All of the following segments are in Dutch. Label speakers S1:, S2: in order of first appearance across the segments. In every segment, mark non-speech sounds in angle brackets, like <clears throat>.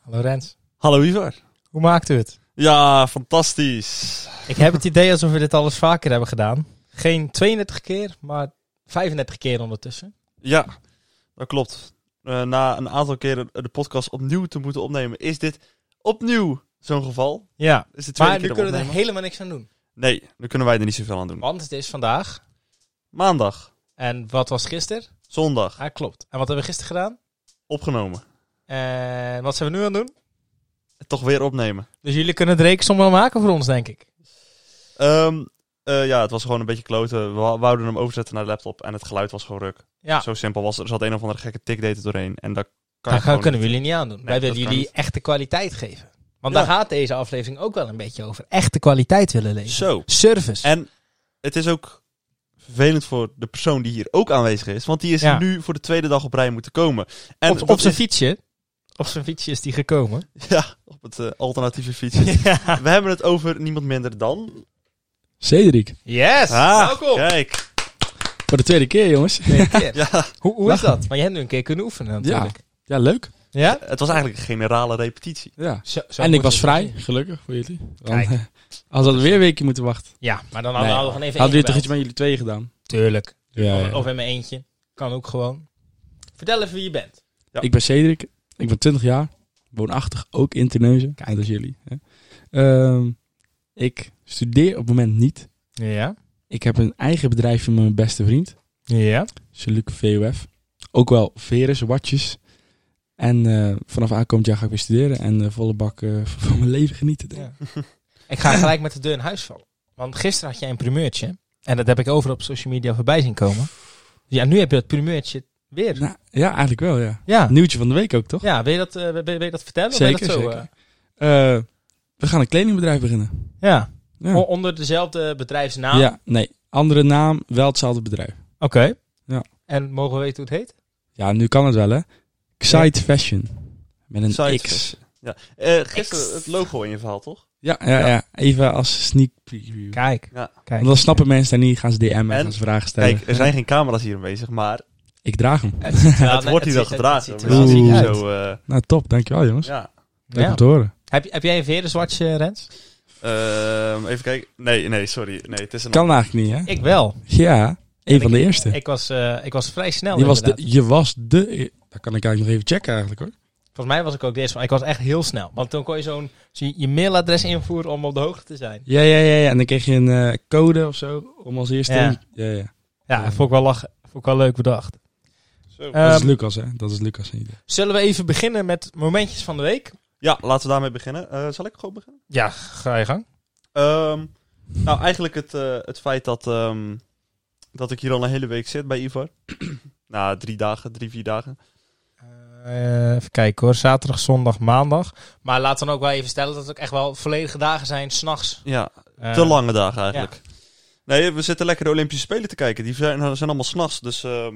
S1: Hallo Rens,
S2: Hallo Ivar.
S1: hoe maakt u het?
S2: Ja, fantastisch.
S1: Ik heb het idee alsof we dit alles vaker hebben gedaan. Geen 32 keer, maar 35 keer ondertussen.
S2: Ja, dat klopt. Eh, na een aantal keren de podcast opnieuw te moeten opnemen, is dit opnieuw zo'n geval.
S1: Ja,
S2: Is de tweede
S1: maar nu
S2: keer dat
S1: kunnen we er
S2: opnemen.
S1: helemaal niks aan doen.
S2: Nee, nu kunnen wij er niet zoveel aan doen.
S1: Want het is vandaag.
S2: Maandag,
S1: En wat was gisteren?
S2: zondag,
S1: Ah, klopt. En wat hebben we gisteren gedaan?
S2: opgenomen.
S1: En wat zijn we nu aan het doen?
S2: En Toch weer opnemen.
S1: Dus jullie kunnen de rekensom wel maken voor ons, denk ik.
S2: Ehm, eh, ja, het was gewoon een beetje kloten. We wou- wouden hem overzetten naar de laptop en het geluid was gewoon ruk.
S1: Ja,
S2: Zo simpel was het. Er zat een of andere gekke tikdate doorheen en dat kan
S1: daar
S2: je
S1: gaan,
S2: gewoon
S1: kunnen we
S2: niet.
S1: jullie niet aan doen.
S2: Nee,
S1: Wij
S2: dat
S1: willen
S2: kan
S1: jullie
S2: niet.
S1: echte kwaliteit geven. Want
S2: Ja.
S1: daar gaat deze aflevering ook wel een beetje over. Echte kwaliteit willen leveren.
S2: Zo.
S1: Service.
S2: En het is ook vervelend voor de persoon die hier ook aanwezig is. Want die is
S1: Ja.
S2: nu voor de tweede dag op rij moeten komen. En
S1: op, op
S2: dat
S1: zijn
S2: is-
S1: fietsje. Op zijn fietsje is die gekomen.
S2: Ja, op het eh, alternatieve fietsje.
S1: <laughs> Ja.
S2: We hebben het over niemand minder dan... Ah,
S3: Cedric,
S1: Yes! welkom!
S2: Kijk,
S3: voor de tweede keer jongens.
S1: Tweede <laughs> keer.
S2: ja,
S1: Hoe, hoe is dat? Maar jij hebt nu een keer kunnen oefenen natuurlijk.
S3: Ja, leuk.
S1: Ja?
S2: het was eigenlijk een generale repetitie.
S3: Ja.
S1: Zo- zo
S3: En ik
S1: moet
S3: was
S1: het
S3: vrij,
S1: zien.
S3: gelukkig voor jullie. Want,
S1: Kijk.
S3: eh, als dat weer een weekje moeten wachten.
S1: Ja, maar dan hadden
S3: Nee.
S1: we gewoon even
S3: Hadden jullie toch
S1: ingebeld.
S3: iets met jullie twee gedaan?
S1: Tuurlijk.
S3: Ja,
S1: Of in mijn eentje. Kan ook gewoon. Vertel even wie je bent.
S2: Ja.
S3: Ik ben Cedric, ik ben 20 jaar, woonachtig ook in Terneuzen, net als jullie. Hè. Ehm, ik studeer op het moment niet.
S1: Ja.
S3: Ik heb een eigen bedrijf van mijn beste vriend,
S1: Ja.
S3: Seluk VOF. Ook wel Verus, Watjes. En eh, vanaf aankomend jaar ga ik weer studeren en eh, volle bak eh, <laughs> van mijn leven genieten. denk ik.
S1: <laughs> Ik ga gelijk met de deur in huis vallen. Want gisteren had jij een primeurtje. En dat heb ik overal op social media voorbij zien komen. Ja, nu heb je dat primeurtje weer.
S3: Nou, ja, eigenlijk wel ja.
S1: Ja.
S3: Nieuwtje van de week ook toch?
S1: Ja, wil je dat, eh, wil, wil je dat vertellen? Of
S3: Zeker,
S1: wil je dat zo,
S3: zeker. Eh, we gaan een kledingbedrijf beginnen.
S1: eh, ja.
S3: Ja.
S1: O- Onder dezelfde bedrijfsnaam.
S3: ja, nee. Andere naam, wel hetzelfde bedrijf.
S1: Oké.
S3: Ja.
S1: En mogen we weten hoe het heet?
S3: Ja, nu kan het wel, hè? Excite Fashion. Met een
S2: Side
S3: X.
S2: fashion. Ja. Eh, gisteren
S1: X.
S2: het logo in je verhaal,
S1: <laughs>
S2: toch?
S3: Ja, ja, ja, Even als sneak preview.
S1: Kijk.
S2: Ja.
S1: Kijk.
S3: Want dan snappen mensen daar niet, gaan ze DM'en, en
S2: En?
S3: gaan ze vragen stellen.
S2: Kijk, er zijn geen camera's hier aanwezig, maar
S3: Ik draag hem.
S1: Het, ziet er
S2: het wordt hier wel
S1: ziet-
S2: gedragen.
S1: het ziet
S2: Het
S1: er wel ziek
S3: Oeh.
S1: uit.
S2: zo, eh,
S3: Nou, top. Dankjewel, jongens.
S2: ja.
S3: Leuk
S1: Ja.
S3: om te horen.
S1: Heb, je- heb jij een verenzwartje, Rens?
S2: Ehm, even kijken. Nee, nee, sorry. Nee, het is een...
S3: Kan eigenlijk niet, hè?
S1: Ik wel.
S3: Ja, een
S1: En
S3: van de eerste.
S1: Ik was, eh, ik was vrij snel.
S3: je, was de,
S1: inderdaad.
S3: je was de... Dat kan ik eigenlijk nog even checken, eigenlijk, hoor.
S1: Volgens mij was ik ook deze, maar ik was echt heel snel. Want toen kon je zo'n zo je- je mailadres invoeren om op de hoogte te zijn.
S3: Ja, ja, ja. ja. En dan kreeg je een eh, code of zo om als eerste...
S1: Ja.
S3: ja, ja.
S1: Ja, dat vond ik wel lachen. Vond ik wel leuk bedacht.
S2: Zo.
S1: Eh,
S3: Dat is
S1: Ehm,
S3: Lucas, hè? Dat is Lucas. niet.
S1: Zullen we even beginnen met momentjes van de week?
S2: Ja, laten we daarmee beginnen. Eh, zal ik gewoon beginnen?
S1: Ja, ga je gang.
S2: Ehm, nou, eigenlijk het, eh, het feit dat, ehm, dat ik hier al een hele week zit bij Ivar. <clears throat> nou, drie dagen, drie, vier dagen.
S1: Eh, even kijken hoor. Zaterdag, zondag, maandag. Maar laat dan ook wel even stellen dat het ook echt wel volledige dagen zijn, s'nachts.
S2: Ja, te lange dagen eigenlijk. Nee, we zitten lekker de Olympische Spelen te kijken. Die zijn, zijn allemaal s'nachts, dus ehm,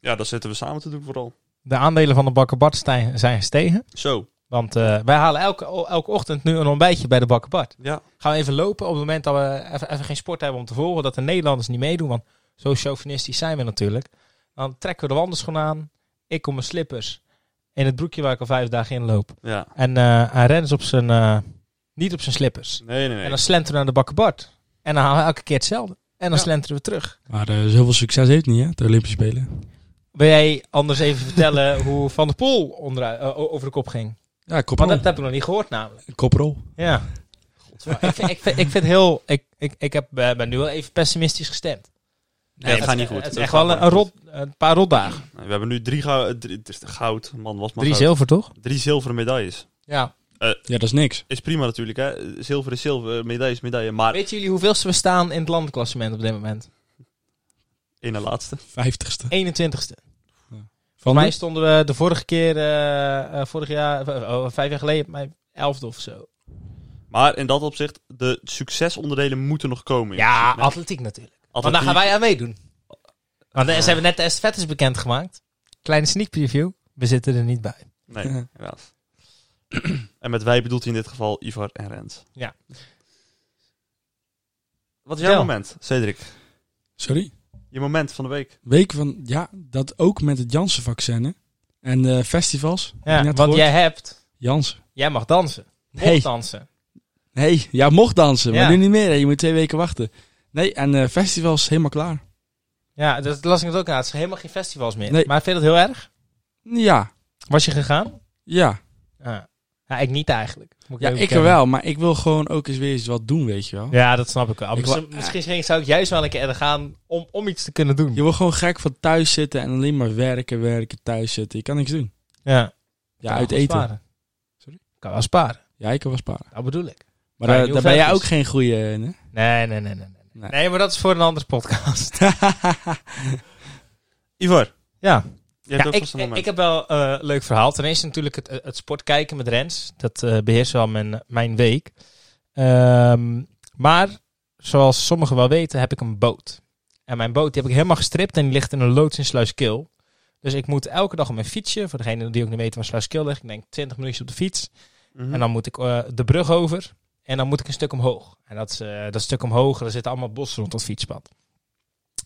S2: ja, dat zitten we samen te doen vooral.
S1: De aandelen van de bakker Bart zijn zijn gestegen.
S2: Zo,
S1: Want eh, wij halen elke, elke ochtend nu een ontbijtje bij de bakker Bart.
S2: ja.
S1: Gaan we even lopen op het moment dat we even, even geen sport hebben om te volgen. Dat de Nederlanders niet meedoen. Want zo chauvinistisch zijn we natuurlijk. Dan trekken we de wandelschoen aan. Ik kom mijn slippers. In het broekje waar ik al vijf dagen in loop.
S2: ja.
S1: En eh hij rent op zijn, eh, niet op zijn slippers.
S2: Nee, nee,
S1: En
S2: nee.
S1: dan slenteren we naar de bakker Bart. En dan halen we elke keer hetzelfde. En dan
S2: Ja.
S1: slenteren we terug.
S3: Maar eh, zoveel succes heeft het niet, hè? De Olympische Spelen.
S1: Wil jij anders even
S2: <laughs>
S1: vertellen hoe Van der Poel onderuit, eh, o- over de kop ging?
S3: Ja, koprol.
S1: Want dat, dat heb ik nog niet gehoord namelijk.
S3: koprol.
S1: Ja. Maar ik, vind, ik, vind, ik vind heel... Ik, ik, ik heb, eh, ben nu wel even pessimistisch gestemd.
S2: Nee, het
S1: Het
S2: gaat
S1: is-
S2: niet goed.
S1: Het is
S2: Dat
S1: echt
S2: gaat
S1: wel een,
S2: gewoon niet
S1: rot, een paar rotdagen.
S2: goed. We hebben nu drie, gou- eh, drie- het is goud, man, was maar goud.
S1: zilver, toch?
S2: drie zilveren medailles.
S1: Ja.
S3: Ja, dat is niks.
S2: Is prima natuurlijk, hè. Zilver is zilver, medaille is medaille, maar
S1: Weet jullie hoeveelste we staan in het landklassement op dit moment?
S2: in de laatste.
S3: Vijftigste.
S1: 21ste.
S3: Van
S1: Voor mij
S3: de-
S1: stonden we de vorige keer, eh, eh, vorig jaar, eh, oh, vijf jaar geleden, op mijn elfde of zo.
S2: Maar in dat opzicht, de succesonderdelen moeten nog komen.
S1: Ja,
S2: Nee,
S1: atletiek natuurlijk. Want daar
S2: atletiek.
S1: gaan wij aan meedoen. Want daar- ze hebben net de estafettes bekendgemaakt. Kleine sneak preview. We zitten er niet bij.
S2: Nee, helaas. <clears throat> en met wij bedoelt hij in dit geval Ivar en Rens.
S1: Ja.
S2: Wat is jouw
S1: Ja.
S2: moment, Cedric?
S3: Sorry?
S2: Je moment van de week.
S3: Week van, ja, dat ook met het Janssen-vaccin hè. en eh, festivals. Heb je
S1: Ja,
S3: net
S1: want
S3: gehoord?
S1: jij hebt,
S3: Janssen.
S1: jij mag dansen. Mocht
S3: Nee.
S1: dansen.
S3: Nee, ja, mocht dansen, maar
S1: Ja.
S3: nu niet meer. Hè. Je moet twee weken wachten. Nee, en eh, festivals helemaal klaar.
S1: Ja, dat las ik het ook aan. Het is helemaal geen festivals meer.
S3: Nee.
S1: Maar vind je dat heel erg?
S3: Ja,
S1: Was je gegaan?
S3: ja.
S1: Ja, ja ik niet eigenlijk. Moet
S3: Ja,
S1: je
S3: ik
S1: bekennen.
S3: wel, maar ik wil gewoon ook eens weer eens wat doen, weet je wel.
S1: Ja, dat snap ik wel.
S3: Ik
S1: misschien,
S3: wa-
S1: misschien ging- zou ik juist wel een keer er gaan om, om iets te kunnen doen.
S3: Je wordt gewoon gek van thuis zitten en alleen maar werken, werken, thuis zitten. Je kan niks doen.
S1: Ja,
S3: Ja,
S1: Kan
S3: uit
S1: wel
S3: eten.
S1: sparen.
S3: Sorry?
S1: Kan wel sparen.
S3: Ja, ik kan wel sparen.
S1: Dat bedoel ik.
S3: Maar eh,
S1: Ja,
S3: daar-
S1: heel
S3: daar ben jij
S1: vet
S3: ook
S1: is.
S3: geen goede in, hè?
S1: Nee, nee, nee, nee. Nee,
S3: Nee.
S1: nee. maar dat is voor een andere podcast. <laughs>
S2: Ivor,
S1: Ja,
S2: je hebt
S1: ja
S2: ook
S1: ik,
S2: vast een
S1: ik,
S2: moment.
S1: ik heb wel eh, een leuk verhaal. Ten eerste natuurlijk het, het sport kijken met Rens. Dat eh, beheerst wel mijn, mijn week. Ehm, maar, zoals sommigen wel weten, heb ik een boot. En mijn boot die heb ik helemaal gestript en die ligt in een loods in Sluiskil. Dus ik moet elke dag op mijn fietsje, voor degene die ook niet weten waar Sluiskil ligt, ik denk 20 minuutjes op de fiets.
S2: Mhm.
S1: En dan moet ik eh, de brug over. En dan moet ik een stuk omhoog. En dat, is, eh, dat stuk omhoog, er zitten allemaal bossen rond dat fietspad.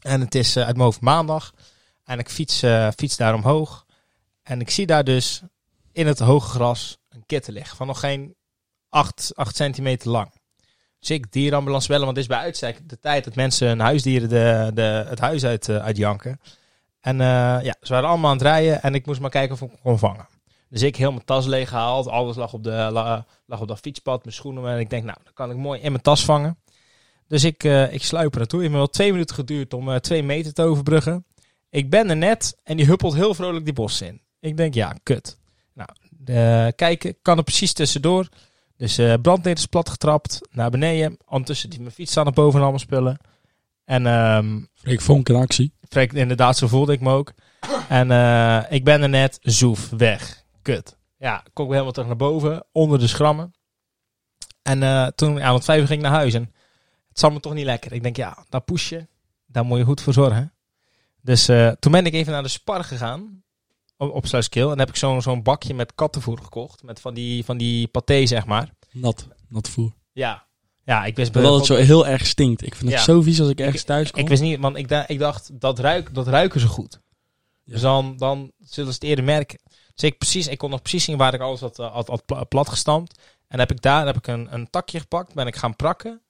S1: En het is eh, uit mijn hoofd maandag. En ik fiets, eh, fiets daar omhoog. En ik zie daar dus in het hoge gras een kitten liggen. Van nog geen 8, 8 centimeter lang. Dus ik dierenambulance bellen, want dit is bij uitstek de tijd dat mensen hun huisdieren de, de, het huis uit, eh, uit janken. En eh, ja, ze waren allemaal aan het rijden en ik moest maar kijken of ik hem kon vangen. Dus ik heel mijn tas leeggehaald. Alles lag op, de, la- lag op dat fietspad, mijn schoenen. En ik denk, nou, dan kan ik mooi in mijn tas vangen. Dus ik, eh ik sluip er naartoe. Het heeft me wel twee minuten geduurd om eh, twee meter te overbruggen. Ik ben er net en die huppelt heel vrolijk die bos in. Ik denk, ja, kut. Nou, eh, kijken, kan er precies tussendoor. Dus eh brandneer is plat getrapt, naar beneden. Ondertussen die mijn fiets aan het boven allemaal spullen. En ehm,
S3: Freek Vonk in actie.
S1: Freek, inderdaad, zo voelde ik me ook. En eh, ik ben er net, zoef, weg. Kut. Ja, kom ik helemaal terug naar boven, onder de schrammen. En eh, toen aan het vijf ging ik naar huis. En het zat me toch niet lekker. Ik denk, ja, dat poesje, daar moet je goed voor zorgen. Dus eh, toen ben ik even naar de spar gegaan, op, op Sluiskeel. En heb ik zo'n zo'n bakje met kattenvoer gekocht. Met van die, van die paté, zeg maar.
S3: Nat. Nat voer.
S1: Ja, ja ik wist
S3: Maar dat het zo heel erg stinkt. Ik vind het
S1: Ja.
S3: zo vies als ik ergens thuis kom.
S1: ik wist niet, want ik, da- ik dacht, dat, ruik, dat ruiken ze goed.
S3: Ja.
S1: Dus dan, dan zullen ze het eerder merken. Dus ik, precies, ik kon nog precies zien waar ik alles had, eh, had, had pla- platgestampt. En heb ik daar heb ik een, een takje gepakt, ben ik gaan prakken.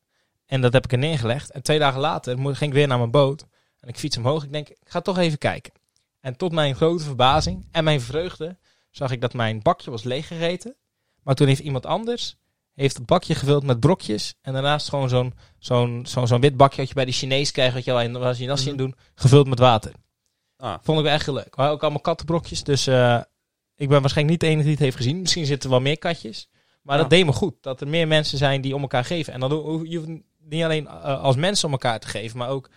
S1: En dat heb ik er neergelegd. En twee dagen later mo- ging ik weer naar mijn boot. En ik fiets omhoog. Ik denk, ik ga toch even kijken. En tot mijn grote verbazing en mijn vreugde zag ik dat mijn bakje was leeggegeten. Maar toen heeft iemand anders heeft het bakje gevuld met brokjes. En daarnaast gewoon zo'n zo'n zo'n zo'n wit bakje wat je bij de Chinees krijgt. Wat je wel in als je nasi in doen. Gevuld met water.
S2: Ah.
S1: Vond ik wel echt heel leuk. Maar ook allemaal kattenbrokjes. Dus eh, ik ben waarschijnlijk niet de enige die het heeft gezien. Misschien zitten er wel meer katjes. Maar
S2: Ja.
S1: dat deed me goed. Dat er meer mensen zijn die om elkaar geven. En dan ho- je hoeft niet alleen eh, als mensen om elkaar te geven. Maar ook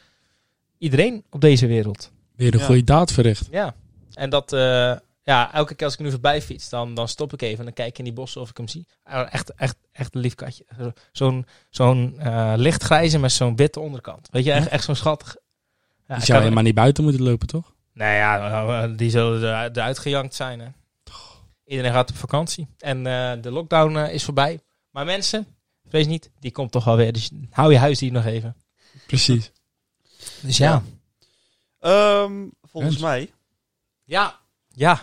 S1: iedereen op deze wereld.
S3: Weer een
S2: Ja.
S3: goede daad verricht.
S1: Ja. En dat... eh, ja, elke keer als ik nu voorbij fiets, dan, dan stop ik even en dan kijk ik in die bossen of ik hem zie. Ah, Echt, echt, echt een lief katje. Zo- Zo'n zo'n eh, lichtgrijze met zo'n witte onderkant. Weet je, echt, echt zo'n schattig. Ja,
S3: Die
S1: ik
S3: zou
S1: kan-
S3: helemaal niet buiten moeten lopen, toch?
S1: nou ja, nou, eh, die zullen er- eruit gejankt zijn. Hè. Iedereen gaat op vakantie. En eh, de lockdown eh, is voorbij. Maar mensen, vrees niet, die komt toch wel weer. Dus hou je huisdier nog even.
S3: Precies.
S1: Dus ja.
S2: Ehm, volgens
S3: Rens?
S2: mij.
S1: Ja. Ja.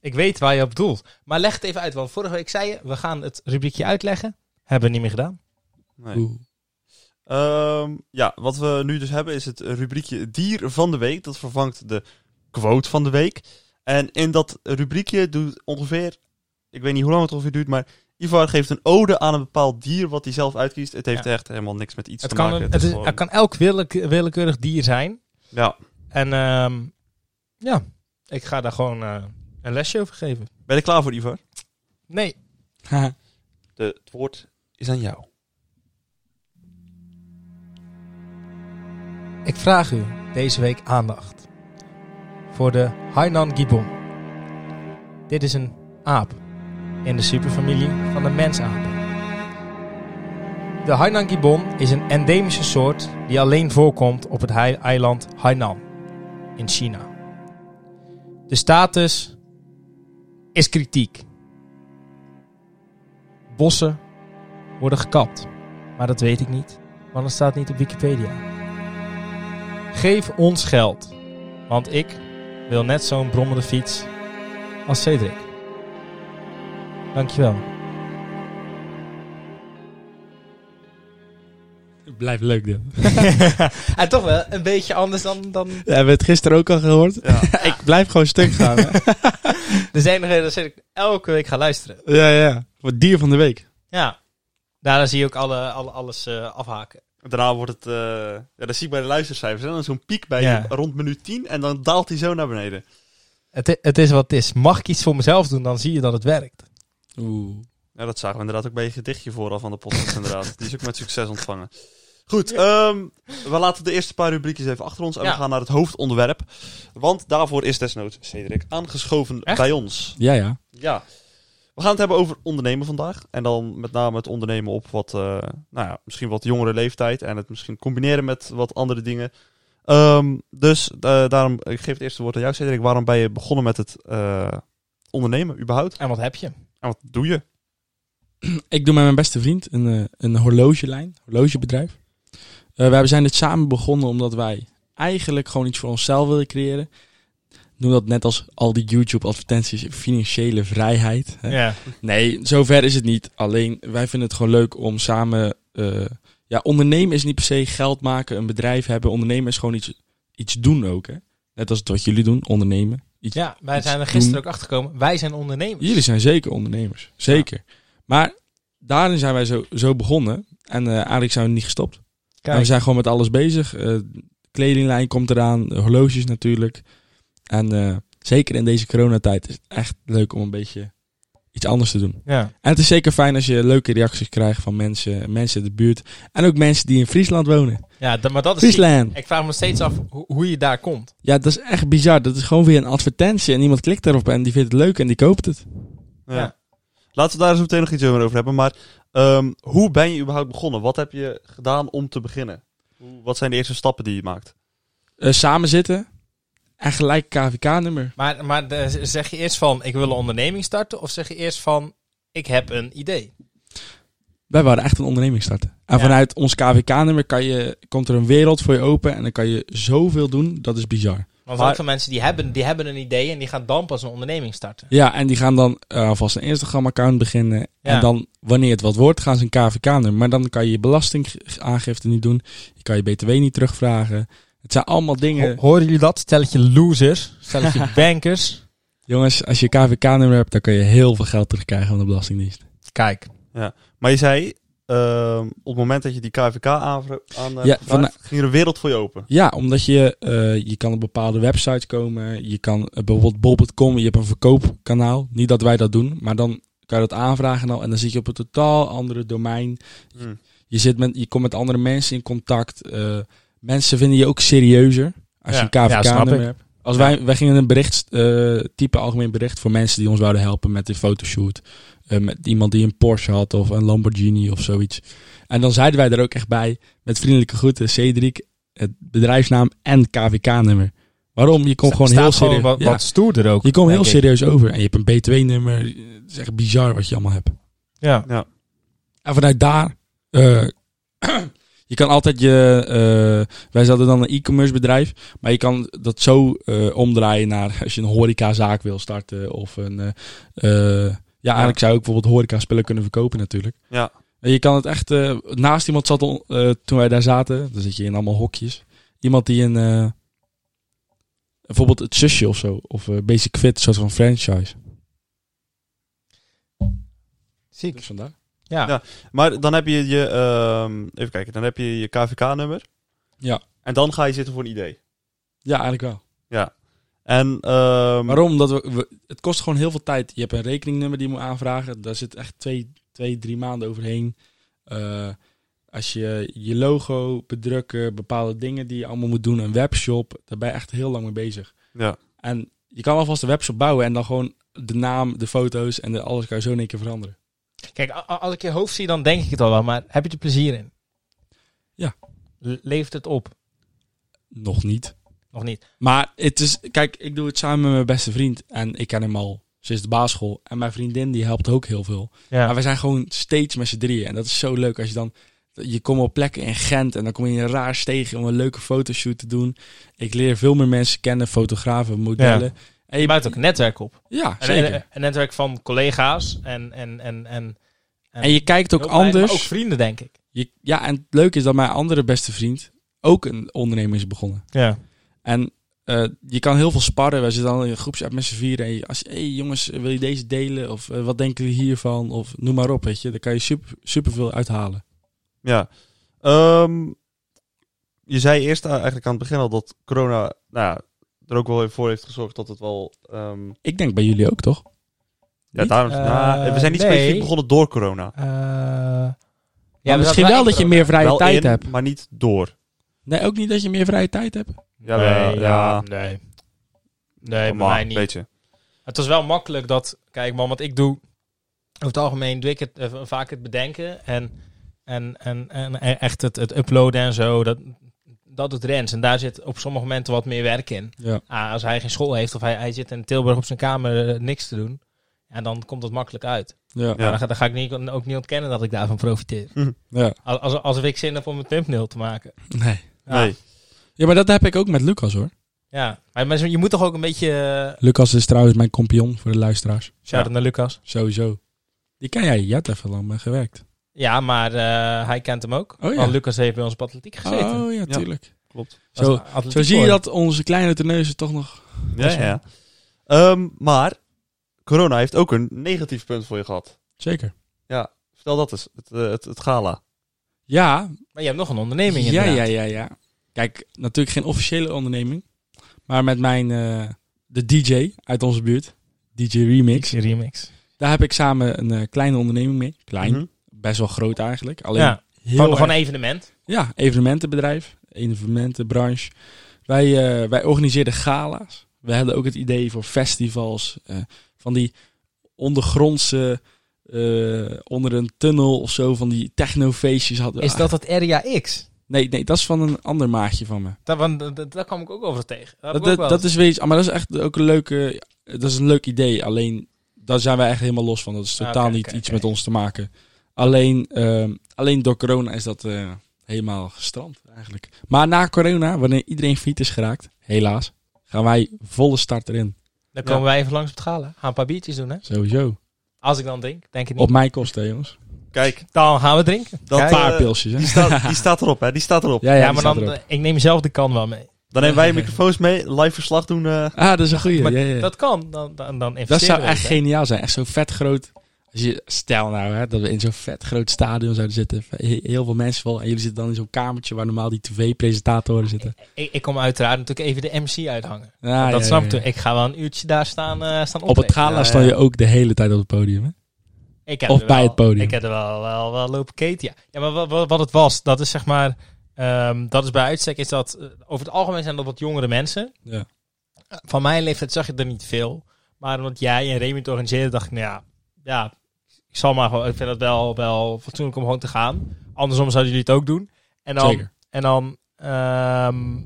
S1: Ik weet waar je op doelt. Maar leg het even uit. Want vorige week zei je, we gaan het rubriekje uitleggen. Hebben we niet meer gedaan.
S2: Nee.
S3: <laughs> Oeh. <laughs>
S2: Ehm, ja, wat we nu dus hebben is het rubriekje Dier van de Week. Dat vervangt de quote van de week. En in dat rubriekje doet ongeveer, ik weet niet hoe lang het ongeveer duurt, maar Ivar geeft een ode aan een bepaald dier wat hij zelf uitkiest. Het heeft
S1: Ja.
S2: echt helemaal niks met iets
S1: Het
S2: te
S1: kan,
S2: maken.
S1: een- het, is-
S2: gewoon-
S1: het kan elk willeke- willekeurig dier zijn.
S2: Ja.
S1: En ehm, ja, ik ga daar gewoon eh, een lesje over geven.
S2: Ben je klaar voor, Ivar?
S1: Nee.
S3: Haha.
S2: De, het woord is aan jou.
S1: Ik vraag u deze week aandacht voor de Hainan Gibbon. Dit is een aap in de superfamilie van de mensapen. De Hainan Gibbon is een endemische soort die alleen voorkomt op het hei- eiland Hainan in China. De status is kritiek. Bossen worden gekapt, maar dat weet ik niet, want het staat niet op Wikipedia. Geef ons geld. Want ik wil net zo'n brommende fiets als Cedric. Dankjewel.
S3: Blijft leuk dit.
S1: <laughs> en toch wel een beetje anders dan... dan...
S3: We hebben het gisteren ook al gehoord.
S2: Ja.
S3: Ik blijf gewoon stuk gaan. hè.
S1: De enige reden dat ik elke week ga luisteren.
S3: <laughs> ja, ja. Voor dier van de week.
S1: Ja. Daar zie je ook alle, alle, alles eh, afhaken.
S2: <laughs> Daarna wordt het, eh, ja, dat zie ik bij de luistercijfers, hè, dan zo'n piek bij
S1: Ja.
S2: rond minuut 10 en dan daalt hij zo naar beneden.
S1: Het, i- het is wat het is. Mag ik iets voor mezelf doen, dan zie je dat het werkt.
S3: Oeh.
S2: Ja, dat zagen we inderdaad ook bij je gedichtje vooral van de
S1: <laughs>
S2: podcast inderdaad. Die is ook met succes ontvangen. Goed, ehm, we laten de eerste paar rubriekjes even achter ons en
S1: Ja.
S2: we gaan naar het hoofdonderwerp. Want daarvoor is desnoods Cedric aangeschoven
S1: Echt?
S2: bij ons.
S3: Ja, ja.
S2: Ja. We gaan het hebben over ondernemen vandaag. En dan met name het ondernemen op wat, eh, nou ja, misschien wat jongere leeftijd. En het misschien combineren met wat andere dingen. Ehm, dus eh, daarom, ik geef het eerste woord aan jou, Cedric. Waarom ben je begonnen met het eh, ondernemen überhaupt?
S1: En wat heb je?
S2: En wat doe je?
S3: Ik doe met mijn beste vriend een, eh, een horlogelijn, horlogebedrijf. Eh wij zijn het samen begonnen omdat wij eigenlijk gewoon iets voor onszelf wilden creëren. Noem dat net als al die YouTube-advertenties, financiële vrijheid. Hè?
S1: Ja.
S3: Nee, zover is het niet. Alleen wij vinden het gewoon leuk om samen. eh, ja, ondernemen is niet per se geld maken, een bedrijf hebben. Ondernemen is gewoon iets, iets doen ook. Hè? Net als wat jullie doen, ondernemen. Iets,
S1: ja, wij
S3: iets
S1: zijn er
S3: doen.
S1: gisteren ook achter gekomen. Wij zijn ondernemers.
S3: Jullie zijn zeker ondernemers. Zeker. Maar daarin zijn wij zo, zo begonnen. En eh, eigenlijk zijn we niet gestopt. En we
S1: Kijk,
S3: zijn gewoon met alles bezig. Eh, kledinglijn komt eraan, horloges natuurlijk. En eh, zeker in deze coronatijd is het echt leuk om een beetje iets anders te doen.
S1: ja.
S3: En het is zeker fijn als je leuke reacties krijgt van mensen, mensen in de buurt. En ook mensen die in Friesland wonen.
S1: ja dat- maar dat is...
S3: Friesland!
S1: Ik vraag me nog steeds af hoe, hoe je daar komt.
S3: Ja, dat is echt bizar. Dat is gewoon weer een advertentie en iemand klikt daarop en die vindt het leuk en die koopt het.
S2: Ja.
S1: Ja.
S2: Laten we daar zo meteen nog iets over hebben. Maar ehm, hoe ben je überhaupt begonnen? Wat heb je gedaan om te beginnen? Hoe- Wat zijn de eerste stappen die je maakt?
S3: Eh, samen zitten en gelijk KVK-nummer.
S1: Maar, maar de- zeg je eerst van, ik wil een onderneming starten? Of zeg je eerst van, ik heb een idee?
S3: Wij wilden echt een onderneming starten. En
S1: Ja.
S3: vanuit ons KVK-nummer kan je, komt er een wereld voor je open en dan kan je zoveel doen. Dat is bizar.
S1: Want
S2: Maar-
S1: heel veel mensen die hebben, die hebben een idee en die gaan dan pas een onderneming starten.
S3: Ja, en die gaan dan eh, alvast een Instagram-account beginnen. En dan, wanneer het wat wordt, gaan ze een KVK-nummer. Maar dan kan je je belastingaangifte niet doen. Je kan je BTW niet terugvragen. Het zijn allemaal dingen...
S1: horen jullie dat? Stelletje losers, stelletje <laughs> bankers.
S3: Jongens, als je KVK-nummer hebt, dan kan je heel veel geld terugkrijgen van de Belastingdienst.
S1: Kijk,
S2: Maar je zei, ehm, op het moment dat je die KVK aanvra- aan eh,
S3: Ja,
S2: gevraagd,
S3: van-
S2: ging er een wereld voor je open.
S3: Ja, omdat je, eh, je kan op bepaalde websites komen. Je kan eh, bijvoorbeeld bol.com, je hebt een verkoopkanaal. Niet dat wij dat doen, maar dan kan je dat aanvragen al. En dan zit je op een totaal andere domein.
S2: Hm.
S3: Je, zit met, je komt met andere mensen in contact. eh, mensen vinden je ook serieuzer als
S1: Ja,
S3: je een
S1: ja, snap
S3: KVK-nummer
S1: ik.
S3: hebt. Als wij, wij gingen een bericht, eh, type algemeen bericht voor mensen die ons wouden helpen met de fotoshoot. Eh, met iemand die een Porsche had of een Lamborghini of zoiets. En dan zeiden wij er ook echt bij, met vriendelijke groeten, Cedric, het bedrijfsnaam en KVK-nummer. Waarom? Je komt
S1: sta-
S3: gewoon
S1: staat
S3: heel serieus.
S1: wat,
S3: ja.
S1: wat stoerder ook.
S3: je komt heel
S1: denk ik.
S3: serieus over. En je hebt een BTW-nummer. Het is echt bizar wat je allemaal hebt.
S1: Ja.
S3: En vanuit daar, eh, <clears throat> je kan altijd je, eh, wij zaten dan een e-commerce bedrijf, maar je kan dat zo eh, omdraaien naar <laughs> als je een horecazaak wil starten of een, eh, eh, ja eigenlijk zou ik bijvoorbeeld horecaspullen kunnen verkopen natuurlijk.
S2: Ja.
S3: En je kan het echt, eh, naast iemand zat on- eh, toen wij daar zaten, dan zit je in allemaal hokjes, iemand die een, eh, bijvoorbeeld het zusje of zo, of eh, Basic Fit, een soort van franchise.
S1: Ziek.
S3: Dus vandaar.
S1: Ja.
S2: Ja. Maar dan heb je je, ehm, even kijken, dan heb je je KVK-nummer.
S3: Ja.
S2: En dan ga je zitten voor een idee.
S3: Ja, eigenlijk wel.
S2: En, ehm,
S3: Waarom? Omdat we, we- het kost gewoon heel veel tijd. Je hebt een rekeningnummer die je moet aanvragen. Daar zit echt twee, twee drie maanden overheen. Eh, als je je logo bedrukken, bepaalde dingen die je allemaal moet doen, een webshop, daar ben je echt heel lang mee bezig.
S2: Ja.
S3: En je kan alvast een webshop bouwen en dan gewoon de naam, de foto's en de, alles kan je zo in één keer veranderen.
S1: Kijk, a- a- als ik je hoofd zie, dan denk ik het al wel. Maar heb je er plezier in?
S3: Ja.
S1: Le- Levert het op?
S3: Nog niet.
S1: Nog niet.
S3: Maar het is, kijk, ik doe het samen met mijn beste vriend en ik ken hem al sinds de basisschool. En mijn vriendin die helpt ook heel veel.
S1: Ja.
S3: Maar we zijn gewoon steeds met z'n drieën. En dat is zo leuk als je dan Je komt op plekken in Gent en dan kom je in een raar steegje om een leuke fotoshoot te doen. Ik leer veel meer mensen kennen, fotografen, modellen. En
S1: Je bouwt ook een netwerk op.
S3: Ja,
S1: En Een,
S3: zeker.
S1: een, netwerk van collega's en... en, en, en
S3: En je kijkt ook
S1: hulplijn, maar
S3: anders.
S1: Ook vrienden, denk ik.
S3: Je- ja, en het leuke is dat mijn andere beste vriend ook een ondernemer is begonnen.
S1: Ja.
S3: En eh, je kan heel veel sparren. Wij zitten dan in een groepsapp met z'n vieren. En je- als je, hey, jongens, wil je deze delen? Of eh, wat denken jullie hiervan? Of noem maar op, weet je. Daar kan je super, super veel uithalen.
S2: Ja. Ehm, je zei eerst a- eigenlijk aan het begin al dat corona nou ja, er ook wel even voor heeft gezorgd dat het wel... ehm,
S3: Ik denk bij jullie ook, toch?
S2: ja,
S3: Niet?
S2: daarom,
S1: Eh,
S2: nou, we zijn niet
S1: nee.
S2: specifiek begonnen door corona.
S3: Eh, Ja, misschien wel dat je meer vrije
S2: wel
S3: tijd
S2: in,
S3: hebt.
S2: maar niet door.
S3: Nee, ook niet dat je meer vrije tijd hebt.
S2: Ja,
S1: nee,
S2: wel, ja.
S1: nee. Nee, bij
S2: maar
S1: mij niet.
S2: Weet je.
S1: Het was wel makkelijk dat... Kijk man, wat ik doe... Over het algemeen doe ik het eh, vaak het bedenken. En, en, en, en en echt het, het uploaden en zo. Dat, dat doet Rens. En daar zit op sommige momenten wat meer werk in.
S3: Ja.
S1: Ah, als hij geen school heeft of hij, hij zit in Tilburg op zijn kamer eh, niks te doen. En dan komt dat makkelijk uit.
S3: Ja.
S1: Maar dan, ga, dan ga ik niet, ook niet ontkennen dat ik daarvan profiteer.
S3: ja.
S1: Als, als, als ik zin heb om een thumbnail te maken. Ah,
S3: Nee.
S1: Ja.
S2: Nee.
S3: Ja, maar dat heb ik ook met Lucas, hoor.
S1: Ja, maar mensen, je moet toch ook een beetje... eh,
S3: Lucas is trouwens mijn compagnon voor de luisteraars.
S1: Shout-out naar Lucas.
S3: Sowieso. Die ken jij. Je hebt even lang mee gewerkt.
S1: Ja, maar eh, hij kent hem ook.
S3: Oh ja.
S1: Want Lucas heeft bij ons op atletiek gezeten.
S3: Oh, ja, tuurlijk.
S2: Klopt.
S1: Dat
S3: Zo-
S1: is een atletiek
S3: Zo zie je
S1: hoor.
S3: dat onze kleine teneuzen toch nog...
S2: Ja,
S3: is
S2: ja. Ehm, maar corona heeft ook een negatief punt voor je gehad.
S3: Zeker.
S2: Vertel dat eens, het, eh, het, het gala.
S3: Ja,
S1: Maar je hebt nog een onderneming
S3: ja,
S1: inderdaad.
S3: ja, ja, ja. Kijk, natuurlijk geen officiële onderneming. Maar met mijn... eh, de DJ uit onze buurt. DJ Remix.
S1: Mix, remix.
S3: Daar heb ik samen een eh, kleine onderneming mee. Klein.
S2: Mhm.
S3: Best wel groot eigenlijk. Alleen
S1: Ja,
S3: heel
S1: van,
S3: erg-
S1: van een evenement.
S3: Ja, evenementenbedrijf, evenementenbranche. Wij, eh, wij organiseerden gala's. We hadden ook het idee voor festivals. eh, van die ondergrondse, eh, onder een tunnel of zo, van die technofeestjes hadden we
S1: Is dat het Area X?
S3: Nee, nee, dat is van een ander maatje van me.
S1: Daar, want, dat, dat, daar kwam ik ook over tegen. Daar heb
S3: Dat,
S1: ik ook
S3: dat,
S1: wel
S3: dat is weer iets, maar dat is echt ook een leuke, dat is een leuk idee. Alleen, daar zijn wij echt helemaal los van. Dat is
S1: Ah,
S3: totaal
S1: oké,
S3: niet
S1: oké,
S3: iets
S1: oké.
S3: met ons te maken. Alleen, ehm, alleen door corona is dat eh, helemaal gestrand eigenlijk. Maar na corona, wanneer iedereen fiet is geraakt, helaas, gaan wij volle start erin.
S1: Dan
S2: Ja.
S1: komen wij even langs op het gala. Gaan een paar biertjes doen, hè?
S3: Sowieso.
S1: Als ik dan drink, denk ik niet.
S3: Op mijn kosten, hè, jongens.
S2: Kijk,
S1: Dan gaan we drinken.
S2: dat
S1: Kijk.
S2: eh,
S3: Paar pilsjes, hè.
S2: die, staat, die staat erop, hè? Die staat erop.
S3: Ja, ja,
S1: Ja,
S3: die
S1: maar
S3: staat
S1: dan,
S3: erop.
S1: eh, ik neem zelf de kan wel mee.
S2: Dan nemen wij je microfoons mee, live verslag doen. eh.
S3: Ah, dat is een goeie.
S1: Maar
S3: ja, ja.
S1: Dat kan, dan, dan, dan investeren
S3: Dat zou
S1: we
S3: echt
S1: het, hè.
S3: geniaal zijn. Echt zo vet groot. Als je, stel nou hè, dat we in zo'n vet groot stadion zouden zitten. He- Heel veel mensen wel. En jullie zitten dan in zo'n kamertje waar normaal die tv-presentatoren zitten.
S1: Ik, ik kom uiteraard natuurlijk even de MC uithangen.
S3: Ah,
S1: dat
S3: ja, ja,
S1: snap
S3: ja.
S1: ik. toch. Ik ga wel een uurtje daar staan, eh staan
S3: Op het
S1: optreden.
S3: gala
S2: Ja,
S3: sta
S2: ja.
S3: je ook de hele tijd op het podium. Hè?
S1: Ik heb
S3: Of
S1: er
S3: bij
S1: wel-
S3: het podium.
S1: Ik heb er wel, wel, wel lopen keten, ja. Ja, maar wat, wat, wat het was, dat is zeg maar... ehm, dat is bij uitstek is dat... eh, over het algemeen zijn dat wat jongere mensen.
S3: Ja.
S1: Eh, Van mijn leeftijd zag je er niet veel. Maar omdat jij en Remy het organiseerden, dacht ik... Nou ja, ja ik zal maar gewoon... Ik vind het wel, wel fatsoenlijk om gewoon te gaan. Andersom zouden jullie het ook doen. En dan,
S3: Zeker.
S1: En dan... ehm,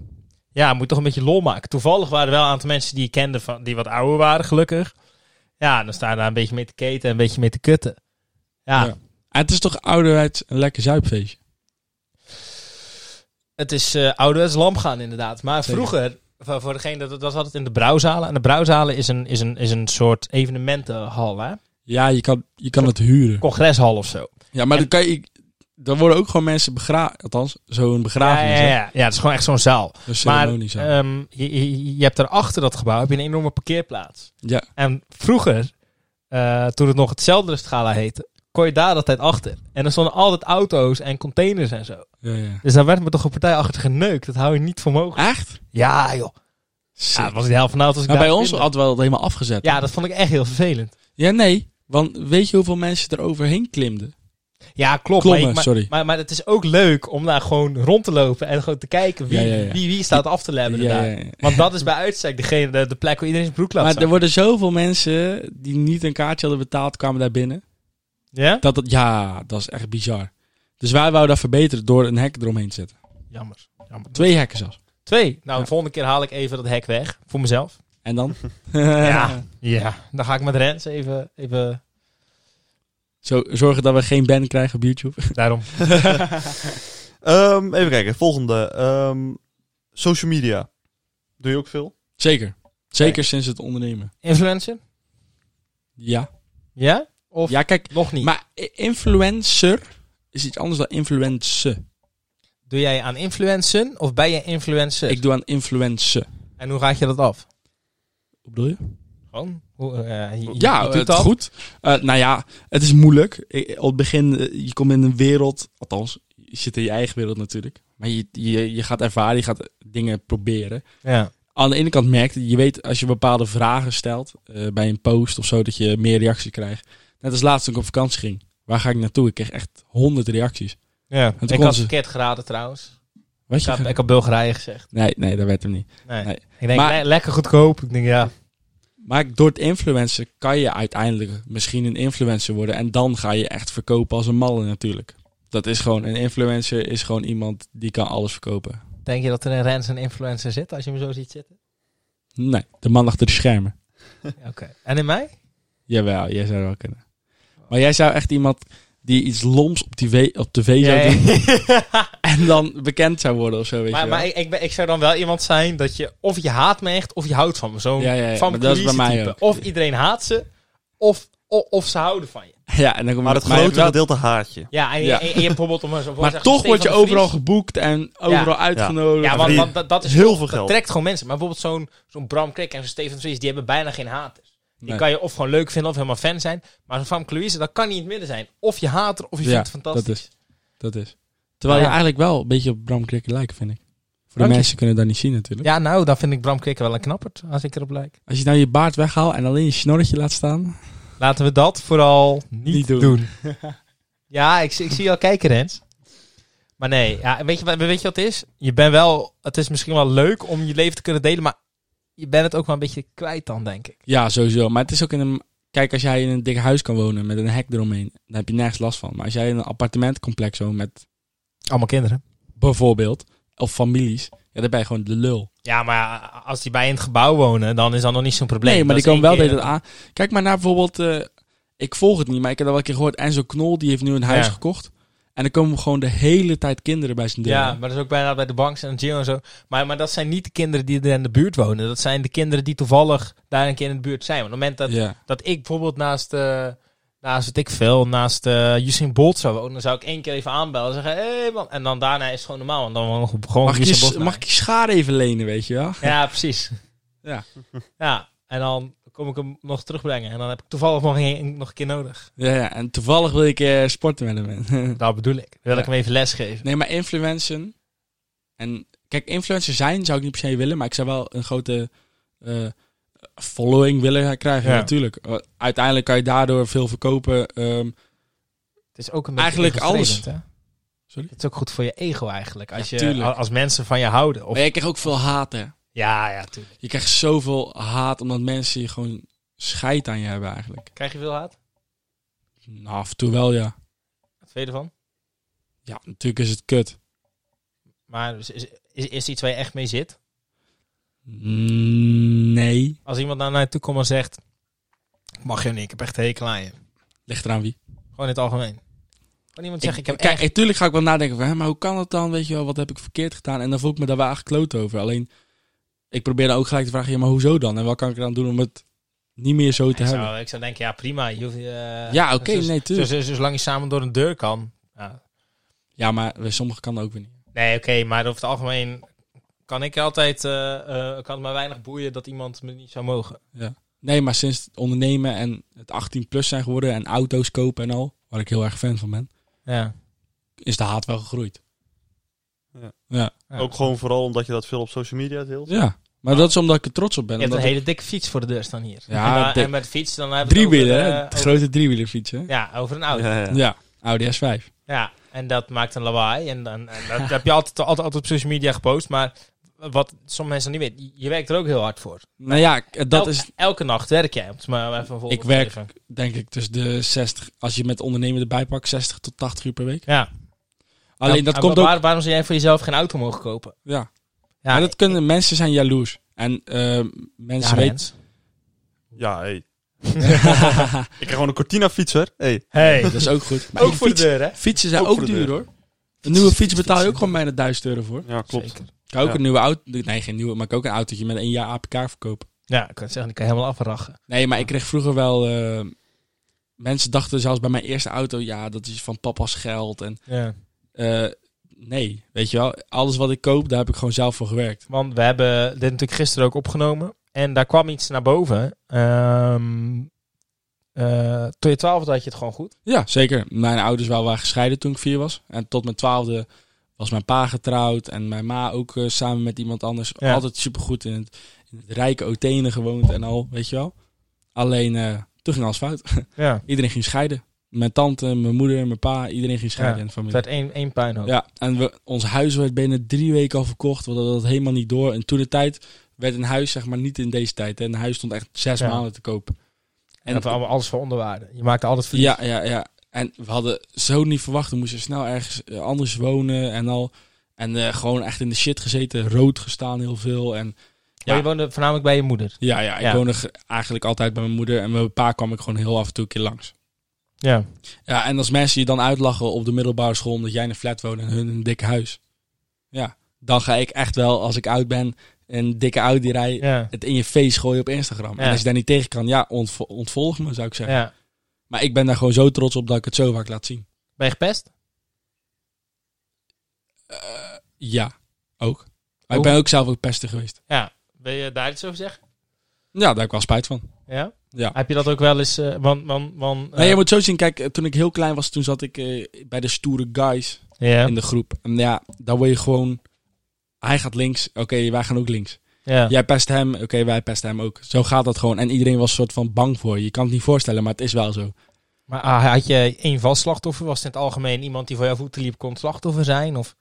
S1: ja, moet toch een beetje lol maken. Toevallig waren er wel een aantal mensen die ik kende... Van, die wat ouder waren, gelukkig. Ja, dan staan daar een beetje mee te keten... en een beetje mee te kutten. ja.
S3: Ja. En het is toch ouderwets een lekker zuipfeestje.
S1: Het is eh ouderwets lamp gaan, inderdaad. Maar
S3: Zeker.
S1: vroeger, voor, voor degene dat, dat was altijd in de brouwzalen. En de brouwzalen is een, is een, is een soort evenementenhal, hè?
S3: Ja, je kan, je kan het huren.
S1: Congreshal of zo.
S3: Ja, maar dan kan je... Dan worden ook gewoon mensen begraven. Althans, zo'n
S1: Ja,
S3: begrafenis.
S1: ja,
S3: hè.
S1: ja. ja, het is gewoon echt zo'n zaal.
S3: Een
S1: Maar
S3: ceremonie zo.
S1: ehm, je, je, je hebt daarachter dat gebouw heb je een enorme parkeerplaats.
S3: ja.
S1: En vroeger, eh, toen het nog hetzelfde rustgala heette, kon je daar altijd achter. En er stonden altijd auto's en containers en zo.
S3: Ja, ja.
S1: Dus daar werd me toch een partij achter geneukt. Dat hou je niet voor mogelijk.
S3: Echt?
S1: Ja, joh. Ja,
S3: Sick.
S1: dat was niet de helft van de auto's. die
S3: maar
S1: ik
S3: bij
S1: daar
S3: ons
S1: vinden.
S3: hadden we dat helemaal afgezet.
S1: Ja, dat vond ik echt heel vervelend.
S3: Ja, nee. Want weet je hoeveel mensen er overheen klimden?
S1: Ja, klopt.
S3: Klommen,
S1: maar, ik- maar,
S3: sorry.
S1: Maar, maar het is ook leuk om daar gewoon rond te lopen en gewoon te kijken wie,
S3: Ja, ja, ja.
S1: wie, wie staat af te labben
S3: Ja,
S1: daar.
S3: ja, ja.
S1: Want dat is bij uitstek degene, de, de plek waar iedereen zijn broek laat
S3: Maar er
S1: zakken.
S3: worden zoveel mensen die niet een kaartje hadden betaald, kwamen daar binnen.
S1: Ja?
S3: Dat, dat, ja, dat is echt bizar. Dus wij wouden dat verbeteren door een hek eromheen te zetten.
S1: Jammer. Jammer.
S3: Twee hekken zelfs.
S1: Twee. Nou,
S3: Ja.
S1: de volgende keer haal ik even dat hek weg. Voor mezelf.
S3: En
S1: <laughs>
S3: dan? <laughs>
S1: Ja. Ja. Dan ga ik met Rens even... even
S3: Zo, zorgen dat we geen ban krijgen op YouTube. <laughs>
S1: Daarom.
S2: <laughs> Ehm, even kijken, volgende. Ehm, social media. Doe je ook veel?
S3: Zeker. Zeker sinds het ondernemen.
S1: Influencer?
S3: Ja.
S1: Ja? Of
S3: Ja, kijk.
S1: nog niet?
S3: Maar i- influencer is iets anders dan influencer.
S1: Doe jij aan influencen of ben je influencer?
S3: Ik doe aan influencer.
S1: En hoe raad je dat af?
S3: Wat bedoel je?
S1: Gewoon? Hoe, eh, je-
S3: Ja,
S1: je doet
S3: het
S1: dat?
S3: goed. Eh, nou ja, het is moeilijk. Ik- op het begin, eh, je komt in een wereld, althans, je zit in je eigen wereld natuurlijk. Maar je, je, je gaat ervaren, je gaat dingen proberen.
S1: Ja.
S3: Aan de ene kant merkt je, je weet als je bepaalde vragen stelt eh, bij een post of zo, dat je meer reacties krijgt. Net als laatst toen ik op vakantie ging. Waar ga ik naartoe? Ik kreeg echt honderd reacties.
S1: ja.
S3: toen
S1: Ik
S3: kon
S1: had
S3: ze-
S1: verkeerd geraden trouwens.
S3: Weet
S1: Ik
S3: je?
S1: had, ik had Bulgarije gezegd.
S3: Nee, nee, dat werd hem niet.
S1: Nee.
S3: Nee.
S1: Ik denk,
S3: Maar-
S1: le- lekker goedkoop. Ik denk, ja.
S3: Maar door het influencer kan je uiteindelijk misschien een influencer worden. En dan ga je echt verkopen als een malle natuurlijk. Dat is gewoon, een influencer is gewoon iemand die kan alles verkopen.
S1: Denk je dat er in Rens een influencer zit als je hem zo ziet zitten?
S3: Nee, de man achter de schermen.
S1: Oké. En in mij?
S3: Jawel, jij zou wel kunnen. Maar jij zou echt iemand die iets loms op, die we- op tv zou
S1: Ja, ja.
S3: doen. En dan bekend zou worden of zo,
S1: <laughs>
S3: weet
S1: maar
S3: je wel.
S1: maar ik, ik, ben, ik zou dan wel iemand zijn dat je of je haat me echt of je houdt van me. Zo'n
S3: Ja, ja, ja,
S1: van
S3: Eh, maar dat is bij
S1: Cleese
S3: mij
S1: type.
S3: ook.
S1: Of iedereen haat ze of, of, of ze houden van je.
S3: Ja, en dan kom je
S2: Maar het
S3: je hebt
S2: grote
S3: wel-
S2: gedeelte haat je.
S1: Ja, en, en-
S3: Ja.
S1: en je hebt bijvoorbeeld om zo
S3: Maar toch word je overal geboekt en overal uitgenodigd.
S1: Ja, want, want dat, dat is
S2: Heel veel
S1: dat
S2: geld.
S1: trekt gewoon mensen. Maar bijvoorbeeld zo'n zo'n Bram Krik en zo'n Steven de Vries, die hebben bijna geen haters. Die
S3: Nee,
S1: kan je of gewoon leuk vinden of helemaal fan zijn. Maar zo'n Famke Louise, dat kan niet in het midden zijn. Of je haat er, of je
S3: Ja,
S1: vindt het fantastisch.
S3: dat dat is. Terwijl
S1: Ja.
S3: je eigenlijk wel een beetje op Bram Krikke lijkt, vind ik. Voor
S1: Dank
S3: de
S1: je.
S3: mensen kunnen dat niet zien natuurlijk.
S1: Ja, nou, dan vind ik Bram Krikke wel een knappert, als ik erop lijk.
S3: Als je nou je baard weghaalt en alleen je snorretje laat staan.
S1: Laten we dat vooral niet,
S3: Niet
S1: doen.
S3: doen. <laughs>
S1: ja, ik, zie- ik zie je al kijken, Rens. Maar nee, ja, weet, je, wat- weet je wat het is? Je bent wel, het is misschien wel leuk om je leven te kunnen delen, maar je bent het ook wel een beetje kwijt dan, denk ik.
S3: Ja, sowieso. Maar het is ook in een. Kijk, als jij in een dik huis kan wonen met een hek eromheen, dan heb je nergens last van. Maar als jij in een appartementcomplex woont met
S1: Allemaal kinderen.
S3: bijvoorbeeld, of families, ja, dan ben je gewoon de lul.
S1: Ja, maar ja, als die bij in het gebouw wonen, dan is dat nog niet zo'n probleem.
S3: Nee, maar
S1: Dat
S3: die
S1: is
S3: komen wel
S1: één
S3: de
S1: keer-
S3: hele tijd aan. Kijk maar naar bijvoorbeeld, eh, ik volg het niet, maar ik heb al wel een keer gehoord, Enzo Knol, die heeft nu een huis
S1: Ja.
S3: gekocht. En dan komen gewoon de hele tijd kinderen bij zijn deur.
S1: Ja, maar dat is ook bijna bij de banks en Gio en zo. Maar, maar dat zijn niet de kinderen die er in de buurt wonen. Dat zijn de kinderen die toevallig daar een keer in de buurt zijn. Want op het moment dat
S3: ja.
S1: dat ik bijvoorbeeld naast, eh naast wat ik veel, naast eh Usain Bolt zou wonen, dan zou ik één keer even aanbellen en zeggen, hé hey man. En dan daarna is het gewoon normaal, want dan woon ik gewoon
S3: Mag, ik
S1: Usain
S3: je,
S1: Bolt.
S3: mag ik je schaar even lenen, weet je wel?
S1: Ja, precies.
S3: Ja.
S1: Ja, en dan kom ik hem nog terugbrengen. En dan heb ik toevallig nog een, nog een keer nodig.
S3: Ja, ja, en toevallig wil ik eh, sporten met hem. <laughs>
S1: Dat bedoel ik. Dan wil ik
S3: Ja.
S1: hem even lesgeven.
S3: Nee, maar influencen. En kijk, influencer zijn zou ik niet per se willen, maar ik zou wel een grote eh, following willen krijgen.
S1: Ja.
S3: Natuurlijk. Eh, Uiteindelijk kan je daardoor veel verkopen. ehm,
S1: Het is ook een beetje
S3: Eigenlijk
S1: egostredend, hè?
S3: Sorry?
S1: Het is ook goed voor je ego eigenlijk. Als,
S3: Ja,
S1: je,
S3: tuurlijk.
S1: als mensen van je houden. Of...
S3: Maar je krijgt ook veel haat, hè?
S1: Ja, ja, tuurlijk.
S3: Je krijgt zoveel haat omdat mensen je gewoon scheid aan je hebben eigenlijk.
S1: Krijg je veel haat?
S3: Nou, af en toe wel, ja.
S1: Wat vind je ervan?
S3: Ja, natuurlijk is het kut.
S1: Maar is, is, is, is iets waar je echt mee zit?
S3: Mm, Nee.
S1: Als iemand naar mij toe komt en zegt... Ik mag je niet, ik heb echt hekel aan je.
S3: Ligt eraan wie.
S1: Gewoon in het algemeen. Kan iemand zeggen, ik, heb
S3: kijk,
S1: echt...
S3: natuurlijk ga ik wel nadenken van, hè, maar hoe kan dat dan? Weet je wel, wat heb ik verkeerd gedaan? En dan voel ik me daar wel eigenlijk kloot over. Alleen, ik probeer dan ook gelijk te vragen, ja, maar hoezo dan? En wat kan ik eraan doen om het niet meer zo te
S1: Ik
S3: hebben?
S1: zou, ik zou denken, ja prima. Je hoeft, eh,
S3: Ja, oké,
S1: dus-
S3: nee,
S1: dus,
S3: tuurlijk.
S1: dus, zolang je samen door een deur kan. Ja.
S3: Ja, maar bij sommigen kan dat ook weer niet.
S1: Nee, oké, maar over het algemeen kan ik altijd... eh, eh, kan het mij weinig boeien dat iemand me niet zou mogen.
S3: Nee, maar sinds het ondernemen en het 18 plus zijn geworden en auto's kopen en al, waar ik heel erg fan van ben,
S1: Ja.
S3: is de haat wel gegroeid.
S1: Ja.
S2: Ook gewoon vooral omdat je dat veel op social media deelt.
S3: Ja, maar dat is omdat ik er trots op ben.
S1: Je hebt een
S3: Omdat
S1: hele dikke fiets voor de deur staan hier.
S3: Ja,
S1: en, dan-
S3: dik.
S1: en met de fiets dan
S3: ik-
S1: hebben we het over,
S3: driewieler,
S1: eh,
S3: hè? De
S1: over-
S3: grote driewielerfiets, hè? Ja.
S1: Ja, over een auto. Ja.
S2: Ja, ja.
S3: Audi S5.
S1: en dat maakt een lawaai. En, dan en dat <laughs> heb je altijd, altijd, altijd op social media gepost. Maar wat sommige mensen niet weten, je werkt er ook heel hard voor.
S3: Nou ja, k- dat
S1: Elke-
S3: is
S1: Elke nacht werk jij, om het maar even een voorbeeld
S3: Ik werk-
S1: te geven.
S3: denk ik tussen de 60, als je met ondernemen erbij pakt, 60 tot 80 uur per week.
S1: Ja.
S3: Alleen
S1: Ja,
S3: dat
S1: maar
S3: komt ook.
S1: waar- Waarom zou jij voor jezelf geen auto mogen kopen?
S3: Ja.
S1: Ja,
S3: maar dat kunnen mensen zijn jaloers. En eh,
S1: ja,
S3: mensen weten.
S1: Rens.
S2: Ja, hey. Ik krijg gewoon een Cortina fietser. Hey.
S1: Hey,
S3: <laughs> <laughs> Dat is ook goed. Maar
S1: ook
S3: ik
S1: voor
S3: fiets-
S1: de deur, hè?
S3: Fietsen zijn
S2: Ook
S3: ook,
S2: voor de
S3: duur
S2: deur.
S3: hoor. Een nieuwe fiets betaal je ook gewoon bijna 1000 euro voor.
S2: Ja, klopt.
S1: Zeker.
S3: Kan ook
S2: Ja.
S3: een nieuwe auto. Nee, geen nieuwe, maar ik kan ook een autootje met één jaar APK verkopen.
S1: Ja, ik kan het zeggen, ik kan helemaal afrachen.
S3: Nee, maar ik kreeg vroeger wel. eh, mensen dachten zelfs bij mijn eerste auto, ja, dat is van papa's geld. En
S1: Ja.
S3: eh, nee, weet je wel, alles wat ik koop, daar heb ik gewoon zelf voor gewerkt.
S1: Want we hebben dit natuurlijk gisteren ook opgenomen. En daar kwam iets naar boven. Ehm eh, toen je 12 had je het gewoon goed.
S3: Ja, zeker. Mijn ouders wel waren gescheiden toen ik vier was. En tot mijn twaalfde was mijn pa getrouwd en mijn ma ook eh, samen met iemand anders.
S1: Ja.
S3: Altijd supergoed in het, in het rijke Otene gewoond en al, weet je wel. Alleen, eh, toen ging alles fout.
S1: Ja.
S3: Iedereen ging scheiden. Mijn tante, mijn moeder, mijn pa, iedereen ging scheiden
S1: Ja,
S3: in de
S1: Het
S3: familie.
S1: werd één, één puinhoop.
S3: Ja, en we, ons huis werd binnen drie weken al verkocht. We hadden dat helemaal niet door. En toen de tijd werd een huis, zeg maar, niet in deze tijd. hè. Een huis stond echt zes
S1: Ja.
S3: maanden te koop.
S1: En dat we allemaal alles voor onderwaarde. Je maakte altijd verlies.
S3: ja, ja, ja. En we hadden zo niet verwacht. We moesten snel ergens eh, anders wonen en al. En eh, gewoon echt in de shit gezeten. Rood gestaan heel veel. En
S1: Maar
S3: Ja.
S1: je woonde voornamelijk bij je moeder.
S3: ja, ja ik
S1: Ja.
S3: woonde ge- eigenlijk altijd bij mijn moeder. En mijn pa kwam ik gewoon heel af en toe een keer langs.
S1: Ja.
S3: Ja, en als mensen je dan uitlachen op de middelbare school omdat jij in een flat woont en hun in een dikke huis. Ja, dan ga ik echt wel, als ik oud ben, een dikke Audi rijden,
S1: Ja.
S3: het in je face gooien op Instagram.
S1: Ja.
S3: En als je daar niet tegen kan, ja, ontvo- ontvolg me, zou ik zeggen.
S1: ja.
S3: Maar ik ben daar gewoon zo trots op dat ik het zo vaak laat zien.
S1: Ben je gepest?
S3: Ja, ook. Maar ik
S1: Ook?
S3: ben ook zelf ook pesten geweest.
S1: Ja. Wil je daar iets over zeggen?
S3: Ja, daar heb ik wel spijt van.
S1: Ja.
S3: Ja.
S1: Heb je dat ook wel eens... eh want, want, want, eh,
S3: nee, je moet zo zien, kijk, eh, toen ik heel klein was, toen zat ik eh, bij de stoere guys
S1: ja.
S3: in de groep. En ja, daar word je gewoon... Hij gaat links, oké, wij gaan ook links.
S1: Ja.
S3: Jij pest hem, oké, wij pesten hem ook. Zo gaat dat gewoon. En iedereen was soort van bang voor je. Je kan het niet voorstellen, maar het is wel zo.
S1: Maar ah, had je één vast slachtoffer? Was het in het algemeen iemand die voor jouw voeten liep kon slachtoffer zijn? Of,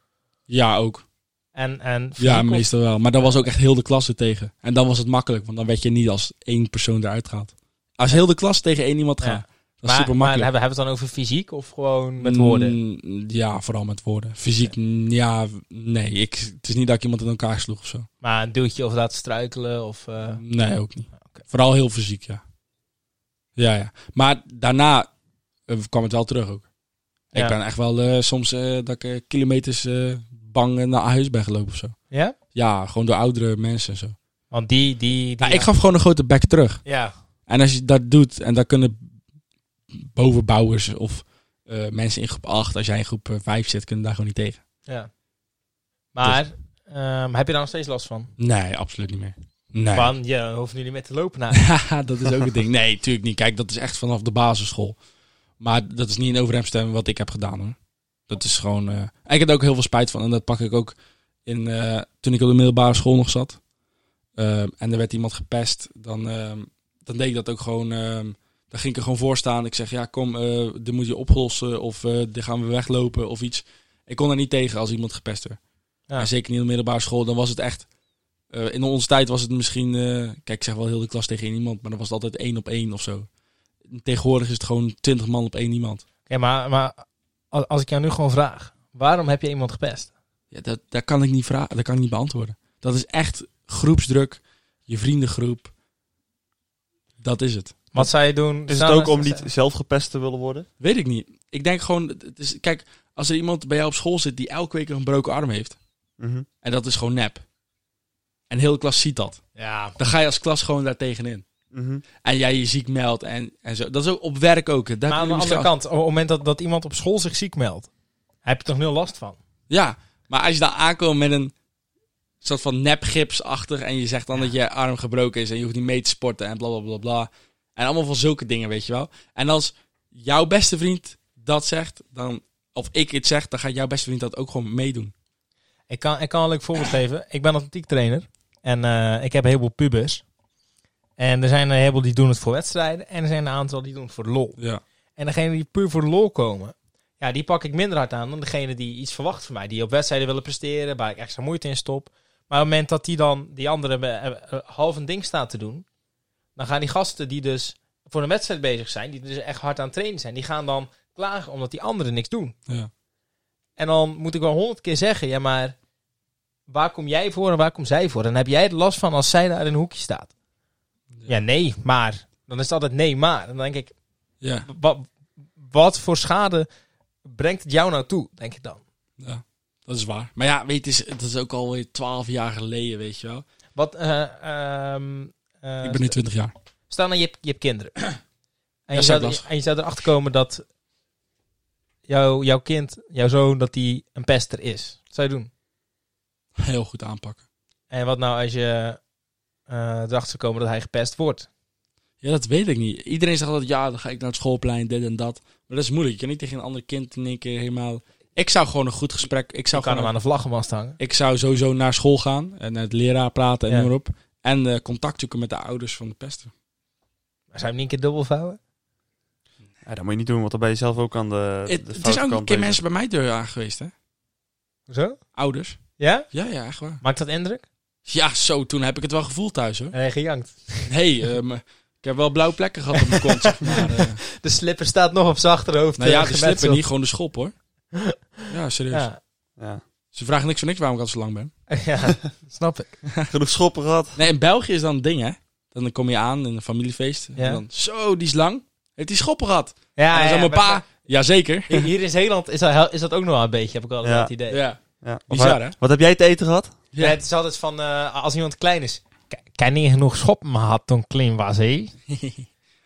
S3: Ja, ook.
S1: en, en
S3: Ja,
S1: fysiek of-
S3: meestal wel. Maar dan was ook echt heel de klasse tegen. En dan was het makkelijk, want dan werd je niet als één persoon eruit gehaald. Als heel de klas tegen één iemand
S1: Ja.
S3: gaat, dat is
S1: Maar,
S3: super
S1: maar
S3: makkelijk.
S1: hebben hebben we het dan over fysiek of gewoon met woorden?
S3: Mm, ja, vooral met woorden. Fysiek, mm, ja, nee. Ik, het is niet dat ik iemand in elkaar sloeg of zo.
S1: Maar een duwtje of laten struikelen of... eh,
S3: Nee, ook niet.
S1: oké.
S3: Vooral heel fysiek, ja. Ja, ja. Maar daarna eh, kwam het wel terug ook.
S1: Ja.
S3: Ik ben echt wel eh, soms eh, dat ik eh, kilometers eh, bang eh, naar huis ben gelopen of zo.
S1: Ja?
S3: Ja, gewoon door oudere mensen en zo.
S1: Want die... die, die
S3: Nou, ik gaf gewoon een grote bek terug.
S1: Ja.
S3: En als je dat doet, en dat kunnen bovenbouwers of eh, mensen in groep 8, als jij in groep 5 zit, kunnen daar gewoon niet tegen.
S1: ja. Maar
S3: Dus-
S1: ehm, heb je daar nog steeds last van?
S3: Nee, absoluut niet meer. Nee.
S1: Van, je hoeft nu niet meer te lopen
S2: <laughs>
S1: naar.
S3: Haha, <laughs> dat is ook het ding. Nee, tuurlijk niet. Kijk, dat is echt vanaf de basisschool. Maar dat is niet in overeenstemming wat ik heb gedaan hoor. Dat is gewoon. eh, en Ik heb er ook heel veel spijt van. En dat pak ik ook in, eh, toen ik op de middelbare school nog zat. Ehm, en er werd iemand gepest. Dan, ehm, dan deed ik dat ook gewoon. ehm, dan ging ik er gewoon voor staan. Ik zeg, ja, kom, eh, dit moet je oplossen. Of eh dit gaan we weglopen of iets. Ik kon er niet tegen als iemand gepest werd.
S1: Ja.
S3: En zeker niet op de middelbare school. Dan was het echt eh, in onze tijd was het misschien, eh, kijk, ik zeg wel heel de klas tegen één iemand, maar dan was het altijd één op één of zo. Tegenwoordig is het gewoon twintig man op één iemand.
S1: Ja, maar, maar als, als ik jou nu gewoon vraag, waarom heb je iemand gepest?
S3: Ja, dat, dat kan ik niet vragen, dat kan ik niet beantwoorden. Dat is echt groepsdruk, je vriendengroep. Dat is het.
S1: Wat zou je doen?
S2: Is het
S1: Zou-
S2: ook om niet zelf gepest te willen worden?
S3: Weet ik niet. Ik denk gewoon, het is, kijk, als er iemand bij jou op school zit die elke week een gebroken arm heeft,
S2: Mhm,
S3: en dat is gewoon nep. En heel de klas ziet dat.
S1: Ja,
S3: Dan ga je als klas gewoon daar tegenin.
S2: Mhm.
S3: En jij je ziek meldt en, en zo. Dat is ook op werk ook. Daar
S1: maar aan de andere kant, op het moment dat, dat iemand op school zich ziek meldt, heb je toch nul last van?
S3: Ja, maar als je dan aankomt met een soort van nepgipsachtig en je zegt dan dat je arm gebroken is en je hoeft niet mee te sporten en bla bla bla bla. En allemaal van zulke dingen, weet je wel. En als jouw beste vriend dat zegt, dan, of ik het zeg, dan gaat jouw beste vriend dat ook gewoon meedoen.
S1: Ik kan, ik kan een leuk voorbeeld geven. Ik ben atletiek trainer en eh, ik heb een heleboel pubers. En er zijn een heleboel die doen het voor wedstrijden en er zijn een aantal die doen het voor de lol.
S3: Ja.
S1: En degene die puur voor de lol komen, ja, die pak ik minder hard aan dan degene die iets verwacht van mij. Die op wedstrijden willen presteren, waar ik extra moeite in stop. Maar op het moment dat die dan die andere eh, eh, half een ding staat te doen, dan gaan die gasten die dus voor een wedstrijd bezig zijn, die dus echt hard aan het trainen zijn, die gaan dan klagen omdat die anderen niks doen.
S3: Ja.
S1: En dan moet ik wel honderd keer zeggen, ja, maar waar kom jij voor en waar kom zij voor? En heb jij er last van als zij daar in een hoekje staat? Ja, nee, maar Dan is het altijd nee, maar. Dan denk ik,
S3: Ja,
S1: wa- wat voor schade brengt het jou nou toe, denk ik dan?
S3: ja, dat is waar. Maar ja, weet je, het is, het is ook alweer twaalf jaar geleden, weet je wel.
S1: Wat, eh, ehm, eh,
S3: Ik ben nu twintig jaar.
S1: Stel nou, je hebt, je hebt kinderen.
S3: <clears throat>
S1: En je,
S3: dat is ook
S1: zou,
S3: lastig.
S1: en je zou erachter komen dat jouw jouw kind, jouw zoon, dat die een pester is. Wat zou je doen?
S3: Heel goed aanpakken.
S1: En wat nou als je eh, erachter zou komen dat hij gepest wordt?
S3: Ja, dat weet ik niet. Iedereen zegt altijd, ja, dan ga ik naar het schoolplein, dit en dat. Maar dat is moeilijk. Je kan niet tegen een ander kind in één keer helemaal... Ik zou gewoon een goed gesprek... Ik
S1: Dan kan
S3: zou gewoon
S1: hem aan de vlaggenmast hangen.
S3: Ik zou sowieso naar school gaan en met leraar praten en
S1: Ja.
S3: noem maar op. En eh, contact zoeken met de ouders van de pester.
S1: Maar zou je hem niet een keer dubbel vouwen?
S2: Ja, dat moet je niet doen, want dan ben je zelf ook aan de, de
S3: Het, het
S2: foute
S3: is ook een
S2: kant bezig.
S3: keer mensen bij mij deur aan geweest, hè?
S1: Zo?
S3: Ouders.
S1: Ja?
S3: Ja, ja, echt waar.
S1: Maakt dat indruk?
S3: Ja, zo, toen heb ik het wel gevoeld thuis, hoor.
S1: En hij gejankt.
S3: Hé, hey, eh, ik heb wel blauwe plekken gehad op mijn kont, zeg maar. eh.
S1: <laughs> De slipper staat nog op zijn achterhoofd.
S3: nou
S1: eh,
S3: ja, de
S1: gemetseld.
S3: slippen niet, dus. gewoon de schop, hoor. Ja, serieus.
S1: Ja. <laughs>
S2: Ja.
S3: Ze vragen niks voor niks waarom ik al zo lang ben.
S1: ja, snap ik.
S2: <laughs> Genoeg schoppen gehad.
S3: Nee, in België is dan een ding, hè? Dan kom je aan in een familiefeest.
S1: Ja.
S3: En dan, zo, die is lang. Heeft die schoppen gehad?
S1: Ja,
S3: en dan
S1: ja,
S3: zo mijn
S1: maar-
S3: pa. Jazeker.
S1: maar Hier in Zeeland is dat, is dat ook nog wel een beetje, heb ik altijd
S2: Ja.
S1: het idee.
S3: Ja.
S2: Ja.
S3: Bizar,
S2: Of,
S1: eh,
S3: hè?
S2: Wat heb jij te eten gehad?
S1: Ja. het is altijd van, eh, als iemand klein is. "K- Kan niet genoeg schoppen had toen ik klein was,
S3: <laughs>
S1: hé?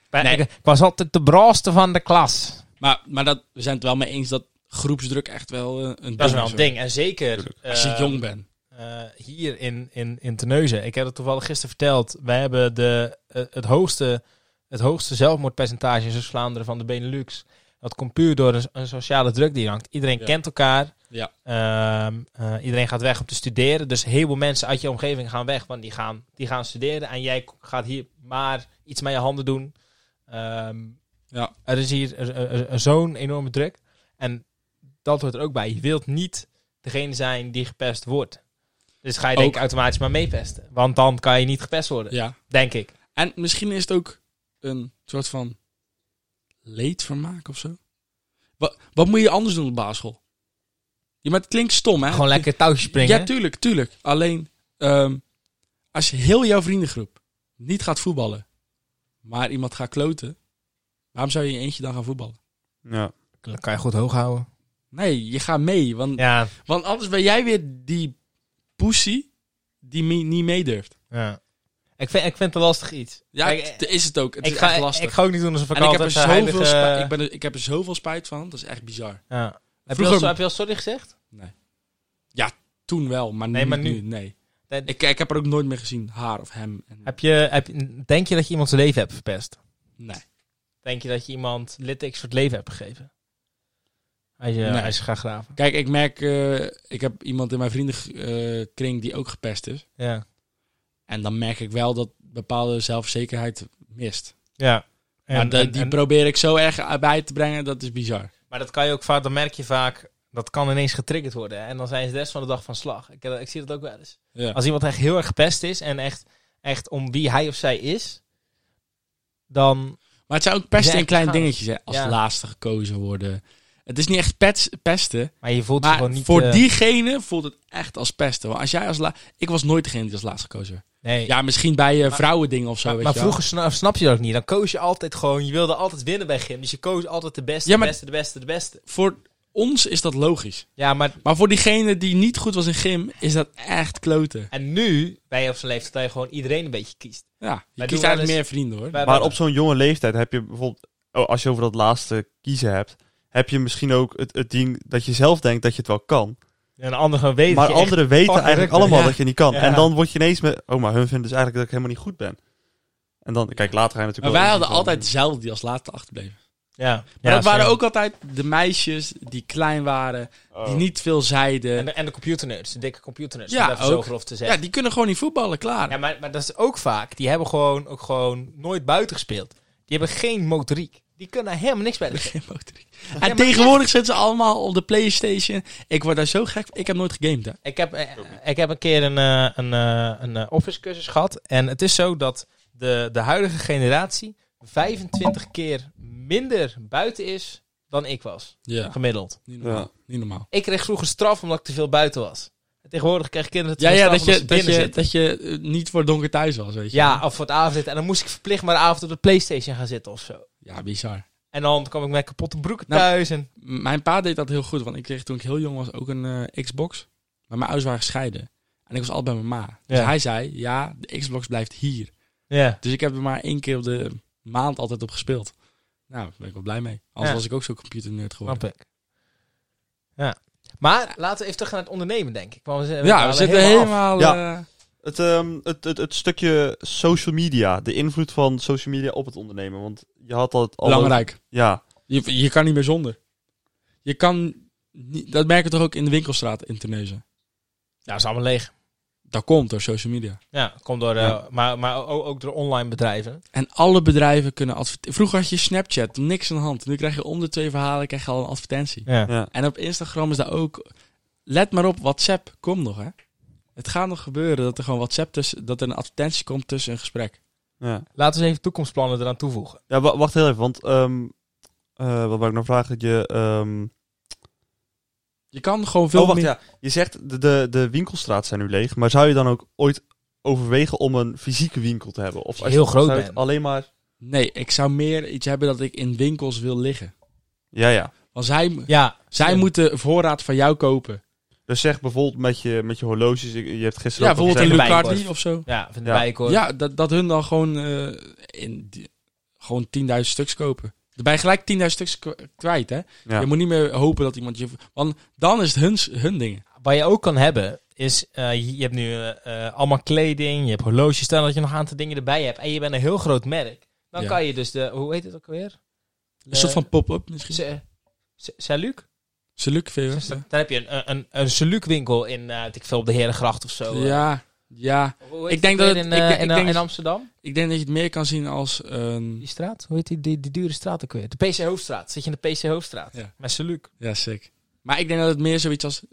S1: Maar
S3: Nee.
S1: ik, ik was altijd de braaste van de klas.
S3: Maar, maar dat, we zijn het wel mee eens dat groepsdruk echt wel eh, een ding
S1: Dat is wel een
S3: hoor.
S1: ding. En zeker
S3: Als je
S1: eh,
S3: jong bent.
S1: eh, hier in, in, in Terneuzen. Ik heb het toevallig gisteren verteld. Wij hebben de, eh, het, hoogste, het hoogste zelfmoordpercentage in Zuid-Vlaanderen van de Benelux. Dat komt puur door een, een sociale druk die hangt. Iedereen
S3: Ja.
S1: kent elkaar.
S3: Ja.
S1: Ehm, eh, iedereen gaat weg om te studeren. Dus heel veel mensen uit je omgeving gaan weg, want die gaan, die gaan studeren. En jij k- gaat hier maar iets met je handen doen. Ehm,
S3: Ja.
S1: Er is hier er- er- er- er zo'n enorme druk. En dat hoort er ook bij. Je wilt niet degene zijn die gepest wordt. Dus ga je denk ik
S3: Ook.
S1: automatisch maar meepesten. Want dan kan je niet gepest worden,
S3: Ja.
S1: denk ik.
S3: En misschien is het ook een soort van leedvermaak of zo. Wat, wat moet je anders doen op de basisschool? Ja, maar het klinkt stom, hè?
S1: Gewoon lekker touwtje springen.
S3: Ja, tuurlijk, tuurlijk. Alleen, ehm, als je heel jouw vriendengroep niet gaat voetballen, maar iemand gaat kloten, waarom zou je in je eentje dan gaan voetballen?
S2: Ja.
S1: Dan kan je goed hoog houden.
S3: Nee, je gaat mee, want,
S1: Ja,
S3: want anders ben jij weer die pussy die me- niet meedurft.
S1: ja. Ik vind, ik vind het een lastig iets.
S3: Ja,
S1: Kijk,
S3: het is het ook. Het
S1: ik
S3: is
S1: ga,
S3: echt lastig.
S1: Ik ga ook niet doen alsof ik
S3: en ik heb, er
S1: altijd de
S3: zoveel
S1: heilige-
S3: spijt, ik, ben er, ik heb er zoveel spijt van. Dat is echt bizar.
S1: Ja. Heb, je
S3: Vroeger-
S1: al, zo- heb je al sorry gezegd?
S3: Toen wel, maar,
S1: Nee,
S3: niet
S1: maar nu-
S3: nu. Nee.
S1: Nee,
S3: Ik, ik heb er ook nooit meer gezien. Haar of hem. En-
S1: Heb je, heb, je- denk je dat je iemand zijn leven hebt verpest?
S3: nee.
S1: Denk je dat je iemand littekens voor het leven hebt gegeven? eh, Als je,
S3: Nee.
S1: als je gaat graven.
S3: Kijk, ik merk... eh, ik heb iemand in mijn vriendenkring die ook gepest is.
S1: Ja.
S3: En dan merk ik wel dat bepaalde zelfzekerheid mist.
S1: ja.
S3: maar de- die probeer ik zo erg bij te brengen. Dat is bizar.
S1: Maar dat kan je ook vaak, dan merk je vaak, dat kan ineens getriggerd worden. hè. En dan zijn ze de rest van de dag van slag. Ik, eh, ik zie dat ook wel eens.
S3: Ja.
S1: Als iemand echt heel erg gepest is en echt, echt om wie hij of zij is, dan.
S3: Maar het zijn ook pesten
S1: Ja,
S3: in kleine
S1: gaaf.
S3: dingetjes. Hè. Als
S1: Ja.
S3: laatste gekozen worden. Het is niet echt pets- pesten.
S1: Maar je voelt ze
S3: Maar
S1: gewoon niet.
S3: voor
S1: eh,
S3: diegene voelt het echt als pesten. Want als jij als la ik was nooit degene die als laatste gekozen werd.
S1: Nee.
S3: Ja, misschien bij eh vrouwendingen of zo.
S1: maar
S3: weet
S1: maar
S3: je wel.
S1: vroeger sna- snap je dat ook niet. Dan koos je altijd gewoon, je wilde altijd winnen bij gym. Dus je koos altijd de beste,
S3: Ja,
S1: de
S3: maar-
S1: beste, de beste, de beste.
S3: Voor ons is dat logisch.
S1: Ja, maar
S3: Maar voor diegene die niet goed was in gym, is dat echt kloten.
S1: en nu ben je op zijn leeftijd dat je gewoon iedereen een beetje kiest.
S3: Ja, je
S1: Wij
S3: kiest
S1: doen wel
S3: eigenlijk
S1: eens-
S3: meer vrienden hoor.
S1: Wij-
S2: Maar
S1: wij-
S2: op zo'n jonge leeftijd heb je bijvoorbeeld... Oh, als je over dat laatste kiezen hebt... heb je misschien ook het, het ding dat je zelf denkt dat je het wel kan.
S1: en de anderen gewoon weten.
S2: Maar
S1: dat je echt-
S2: anderen weten
S1: fucking
S2: eigenlijk
S1: druk bent.
S2: allemaal
S3: Ja.
S2: dat je niet kan.
S1: Ja.
S2: En dan word je ineens met... Oh, maar hun vinden dus eigenlijk dat ik helemaal niet goed ben. En dan... Kijk, later ga je
S3: Maar
S2: natuurlijk...
S3: wij
S2: wel-
S3: hadden altijd dezelfde die als laatste achterbleven.
S1: ja,
S3: Maar
S1: Ja,
S3: dat waren
S1: same.
S3: ook altijd de meisjes die klein waren,
S2: Oh.
S3: die niet veel zeiden.
S1: En de, en de computernerds, de dikke computernerds.
S3: Ja,
S1: Ja, even zo
S3: ook.
S1: grof te zeggen.
S3: Ja, die kunnen gewoon niet voetballen, klaar.
S1: Ja, maar, maar dat is ook vaak. Die hebben gewoon, ook gewoon nooit buiten gespeeld. Die hebben geen motoriek. Die kunnen helemaal niks
S3: <laughs>
S1: bij. de-
S3: Geen motoriek. En tegenwoordig zitten ze allemaal op de Playstation. Ik word daar zo gek van. Ik heb nooit gegamed hè.
S1: Ik heb, eh, ik heb een keer een, eh, een, eh, een eh, office cursus gehad. En het is zo dat de, de huidige generatie 25 keer minder buiten is dan ik was.
S3: Ja,
S1: Gemiddeld.
S3: niet normaal.
S2: Ja.
S3: Niet normaal.
S1: Ik kreeg vroeger straf omdat ik te veel buiten was. Tegenwoordig krijg kinderen het
S3: Ja, ja
S1: wel
S3: dat,
S1: straf
S3: je,
S1: omdat
S3: dat,
S1: ze binnen
S3: je,
S1: zitten.
S3: dat je eh, niet voor donker thuis was, weet je.
S1: Ja, of voor het avondeten. En dan moest ik verplicht maar de avond op de Playstation gaan zitten of zo.
S3: Ja, bizar.
S1: En dan kwam ik met kapotte broeken
S3: Nou,
S1: thuis. En
S3: M- Mijn pa deed dat heel goed, want ik kreeg toen ik heel jong was ook een eh, Xbox. Maar mijn ouders waren gescheiden. En ik was altijd bij mijn ma. Dus
S1: Ja.
S3: hij zei, ja, de Xbox blijft hier.
S1: ja,
S3: Dus ik heb er maar één keer op de maand altijd op gespeeld. Nou, daar ben ik wel blij mee. Anders
S1: Ja.
S3: was ik ook zo'n computernerd geworden.
S1: snap ik. Ja. Maar laten we even terug gaan naar het ondernemen, denk ik. Want we zijn-
S3: Ja, we
S1: dwalen
S3: zitten
S1: af.
S3: helemaal...
S2: Ja.
S3: eh,
S2: Het, ehm, het, het, het stukje social media, de invloed van social media op het ondernemen. Want je had dat al.
S3: belangrijk.
S2: Ja,
S3: Je, je kan niet meer zonder. Je kan... Niet, dat merken we toch ook in de winkelstraat in Tunesië.
S1: Ja, is allemaal leeg.
S3: Dat komt door social media.
S1: Ja, komt door, eh,
S3: Ja.
S1: Maar, maar ook, ook door online bedrijven.
S3: En alle bedrijven kunnen adverteren. Vroeger had je Snapchat, niks aan de hand. Nu krijg je om de twee verhalen krijg je al een advertentie.
S1: Ja.
S2: ja.
S3: En op Instagram is dat ook. Let maar op, WhatsApp komt nog, hè? Het gaat nog gebeuren dat er gewoon WhatsApp tussen, dat er een advertentie komt tussen een gesprek.
S2: ja.
S1: Laten we eens even toekomstplannen eraan toevoegen.
S2: Ja, wa- wacht heel even, want ehm, eh, wat wou ik nou vragen? Je, ehm,
S3: Je kan gewoon veel
S2: oh, wacht,
S3: meer.
S2: ja. Je zegt de, de, de winkelstraat zijn nu leeg, maar zou je dan ook ooit overwegen om een fysieke winkel te hebben? Of
S1: je heel groot
S2: zou je het
S1: bent.
S2: Alleen maar.
S3: Nee, ik zou meer iets hebben dat ik in winkels wil liggen.
S2: Ja, ja.
S3: Want zij,
S1: Ja,
S3: zij moeten voorraad van jou kopen.
S2: Dus zeg bijvoorbeeld met je, met je horloges. ik- Je hebt
S3: Ja,
S2: gisteren ook al
S3: bijvoorbeeld een
S2: gezegd-
S1: Lucardi
S3: Lucardi of zo.
S1: ja van de
S2: Ja.
S1: bijenkorf.
S3: Ja, dat, dat hun dan gewoon, eh, in die- gewoon 10.000 stuks kopen. Dan ben je gelijk 10.000 stuks k- kwijt, hè?
S2: Ja.
S3: Je moet niet meer hopen dat iemand je... Want dan is het hun, hun dingen.
S1: Wat je ook kan hebben, is eh, je- je hebt nu eh, eh, allemaal kleding, je hebt horloges, stel dat je nog een aantal dingen erbij hebt en je bent een heel groot merk. Dan
S3: Ja.
S1: kan je dus de, hoe heet het ook alweer?
S3: Een soort van pop-up misschien.
S1: Se- se- Seluc?
S3: Seluk, veel.
S1: Dan heb je een, een, een, een Seluc winkel in, eh weet ik veel, op de Herengracht of zo. eh.
S3: Ja, ja.
S1: Hoe heet
S3: Ik denk
S1: het
S3: dat
S1: weer
S3: het-
S1: in, eh,
S3: ik- ik
S1: in,
S3: denk-
S1: in Amsterdam?
S3: Ik denk dat je het meer kan zien als een...
S1: Die straat? Hoe heet die, die, die dure straat ook weer? De PC Hoofdstraat. Zit je in de PC Hoofdstraat?
S3: Ja.
S1: Met Seluc.
S3: Ja, sick. Maar ik denk dat het meer zoiets als...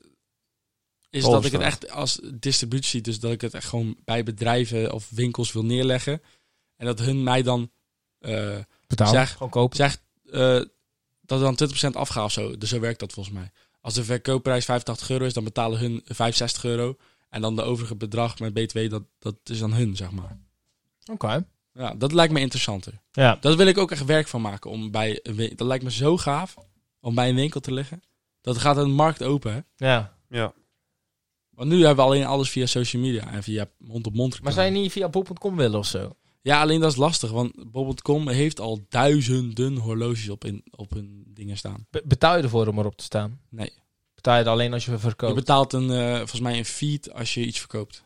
S3: Is dat ik het echt als distributie, dus dat ik het echt gewoon bij bedrijven of winkels wil neerleggen. En dat hun mij dan eh zeg,
S1: Gewoon kopen.
S3: zegt eh, dat er dan 20% afgaat of zo. Dus zo werkt dat volgens mij. Als de verkoopprijs 85 euro is, dan betalen hun 65 euro. En dan de overige bedrag met BTW, dat, dat is dan hun, zeg maar.
S1: Oké.
S3: Ja, dat lijkt me interessanter.
S1: Ja.
S3: Dat wil ik ook echt werk van maken. Om bij een win- dat lijkt me zo gaaf om bij een winkel te liggen. Dat gaat een markt open, hè?
S1: ja.
S2: Ja.
S3: Want nu hebben we alleen alles via social media en via mond-op-mond.
S1: Maar
S3: reclame.
S1: zou je niet via bol.com willen of zo?
S3: Ja, alleen dat is lastig, want Bob.com heeft al duizenden horloges op, in, op hun dingen staan.
S1: Be- betaal je ervoor om erop te staan?
S3: Nee.
S1: Betaal je het alleen als je
S3: Je
S1: verkoopt?
S3: betaalt een, eh, volgens mij een feed als je iets verkoopt.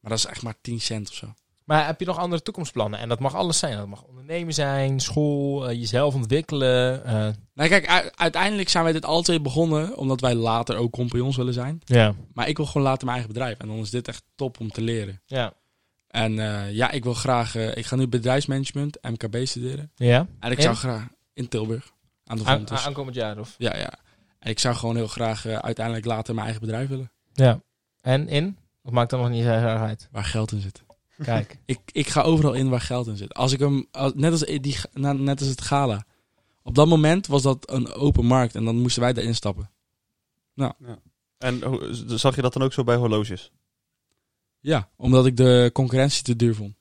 S3: Maar dat is echt maar 10 cent of zo.
S1: maar heb je nog andere toekomstplannen? En dat mag alles zijn. Dat mag ondernemen zijn, school, eh, jezelf ontwikkelen. eh,
S3: Nou kijk, u- uiteindelijk zijn wij dit alle twee begonnen omdat wij later ook compagnons willen zijn.
S1: ja.
S3: Maar ik wil gewoon later mijn eigen bedrijf. En dan is dit echt top om te leren.
S1: Ja.
S3: En eh, ja, ik wil graag... eh, ik ga nu bedrijfsmanagement, MKB studeren.
S1: Ja?
S3: En ik
S1: In?
S3: zou graag in Tilburg. Aan de
S1: Aan,
S3: Vontes.
S1: aan- aankomend jaar of?
S3: Ja, ja. En ik zou gewoon heel graag eh, uiteindelijk later mijn eigen bedrijf willen.
S1: Ja. En in? Of maakt dat nog niet erg uit?
S3: Waar geld in zit.
S1: Kijk.
S3: Ik, ik ga overal in waar geld in zit. Als ik hem, als- net, als die, ga- na- net als het gala. Op dat moment was dat een open markt en dan moesten wij erin stappen.
S2: En hoe- z- zag je dat dan ook zo bij horloges?
S3: Ja, omdat ik de concurrentie te duur vond.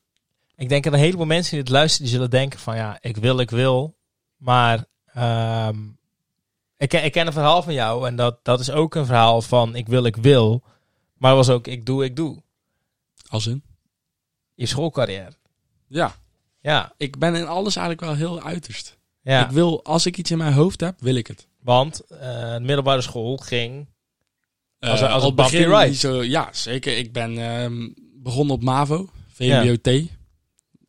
S1: ik denk dat een heleboel mensen die dit luisteren, die zullen denken van ja, ik wil, ik wil. Maar ehm, ik, ken- ik ken een verhaal van jou en dat, dat is ook een verhaal van ik wil, ik wil. Maar was ook ik doe, ik doe.
S3: Als in?
S1: Je schoolcarrière.
S3: Ja,
S1: Ja.
S3: ik ben in alles eigenlijk wel heel uiterst.
S1: Ja.
S3: Ik wil, als ik iets in mijn hoofd heb, wil ik het.
S1: Want eh, de middelbare school ging. Als-
S3: Eh,
S1: als
S3: al
S1: het Bumpy
S3: begin
S1: Ride.
S3: niet zo- Ja, zeker. Ik ben ehm, begonnen op MAVO, VMBOT.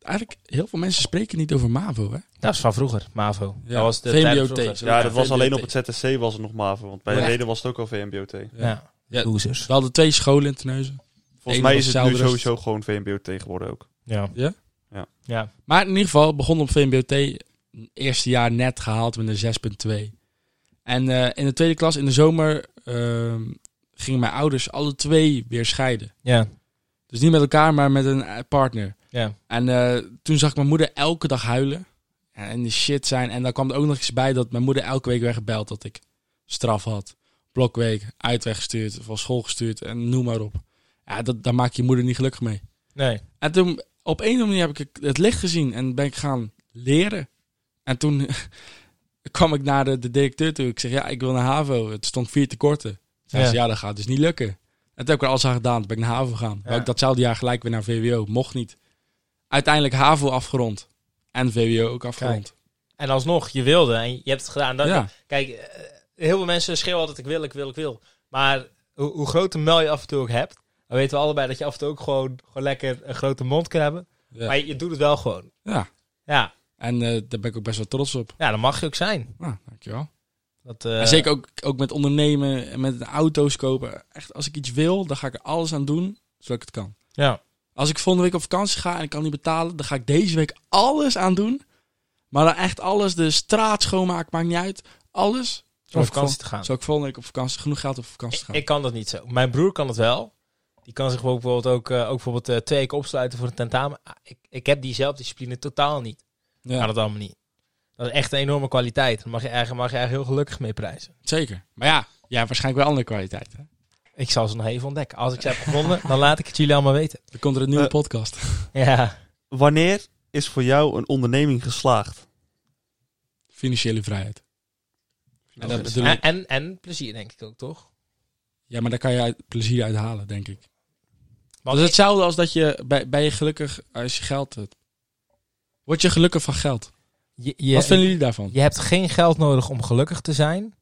S3: Eigenlijk, heel veel mensen spreken niet over MAVO, hè?
S1: Dat is van vroeger, MAVO.
S3: Ja,
S1: Dat was de
S3: VMBO
S1: tijd van
S3: T.
S1: vroeger.
S3: Zo.
S2: Ja,
S3: Ja,
S2: dat was
S3: VMBOT.
S2: alleen op het ZSC was het nog MAVO, want bij
S1: Ja.
S2: de reden was het ook al VMBOT.
S1: Ja.
S3: Ja.
S1: Losers.
S3: We hadden twee scholen in Terneuzen.
S2: Volgens
S3: Eén
S2: mij
S3: was
S2: is het nu
S3: Zeilrust.
S2: sowieso gewoon VMBOT geworden ook.
S1: Ja.
S3: Ja?
S2: Ja.
S1: Ja.
S3: Maar in ieder geval, begon op VMBOT. Eerste jaar net gehaald met een 6.2. En eh, in de tweede klas, in de zomer, ehm, gingen mijn ouders alle twee weer scheiden.
S1: Ja.
S3: Dus niet met elkaar, maar met een eh, partner.
S1: Ja.
S3: En eh, toen zag ik mijn moeder elke dag huilen. En die shit zijn. En daar kwam er ook nog eens bij dat mijn moeder elke week werd gebeld dat ik straf had. blokweek, uitweg gestuurd, van school gestuurd en noem maar op. Ja, dat, daar maak je je moeder niet gelukkig mee.
S1: Nee.
S3: En toen, op een of andere manier heb ik het licht gezien en ben ik gaan leren. En toen <laughs> kwam ik naar de, de directeur toe. Ik zeg, ja, ik wil naar HAVO. Het stond vier tekorten. Zei
S1: Ja.
S3: ze, ja, dat gaat dus niet lukken. En toen heb ik er alles aan gedaan. Toen ben ik naar HAVO gegaan. Wou
S1: Ja.
S3: ik datzelfde jaar gelijk weer naar VWO. Mocht niet. Uiteindelijk HAVO afgerond. En VWO ook afgerond.
S1: En alsnog, je wilde en je hebt het gedaan. Dat,
S3: ja.
S1: Kijk, eh, heel veel mensen schreeuwen altijd ik wil, ik wil, ik wil. Maar hoe, hoe groot een mel je af en toe ook hebt, dan weten we allebei dat je af en toe ook gewoon, gewoon lekker een grote mond kan hebben.
S3: Ja.
S1: Maar je, je doet het wel gewoon.
S3: ja.
S1: Ja.
S3: En eh, daar ben ik ook best wel trots op.
S1: ja, dat mag je ook zijn.
S3: Nou, dankjewel.
S1: Dat, eh,
S3: En zeker ook, ook met ondernemen en met auto's kopen. Echt, als ik iets wil, dan ga ik er alles aan doen zodat ik het kan.
S1: Ja.
S3: Als ik volgende week op vakantie ga en ik kan niet betalen, dan ga ik deze week alles aan doen. Maar dan echt alles, de straat schoonmaken, maakt niet uit. Alles.
S1: om op
S3: Zodat ik vol-
S1: vakantie te gaan.
S3: Zodat ik volgende week op vakantie, genoeg geld op vakantie
S1: Ik,
S3: te gaan.
S1: ik kan dat niet zo. Mijn broer kan het wel. Die kan zich bijvoorbeeld ook, eh, ook bijvoorbeeld, eh, twee weken opsluiten voor een tentamen. Ah, ik, ik heb die zelfdiscipline totaal niet.
S3: ja,
S1: Kan dat allemaal niet. Dat is echt een enorme kwaliteit. Daar mag je eigenlijk, mag je eigenlijk heel gelukkig mee prijzen.
S3: zeker. Maar ja, jij hebt waarschijnlijk wel andere kwaliteit. Hè?
S1: Ik zal ze nog even ontdekken. Als ik ze heb gevonden, dan laat ik het jullie allemaal weten.
S3: Dan komt er een nieuwe
S2: Eh.
S3: podcast. <laughs>
S1: Ja.
S2: Wanneer is voor jou een onderneming geslaagd?
S3: Financiële vrijheid. En dat bedoel
S1: En, dus-
S3: ik,
S1: en, en plezier, denk ik ook, toch?
S3: ja, maar daar kan je uit, plezier uit halen, denk ik.
S1: Want
S3: dat is hetzelfde als dat je, bij, ben je gelukkig als je geld hebt. Word je gelukkig van geld?
S1: je, je,
S3: Wat vinden jullie daarvan?
S1: je hebt geen geld nodig om gelukkig te zijn.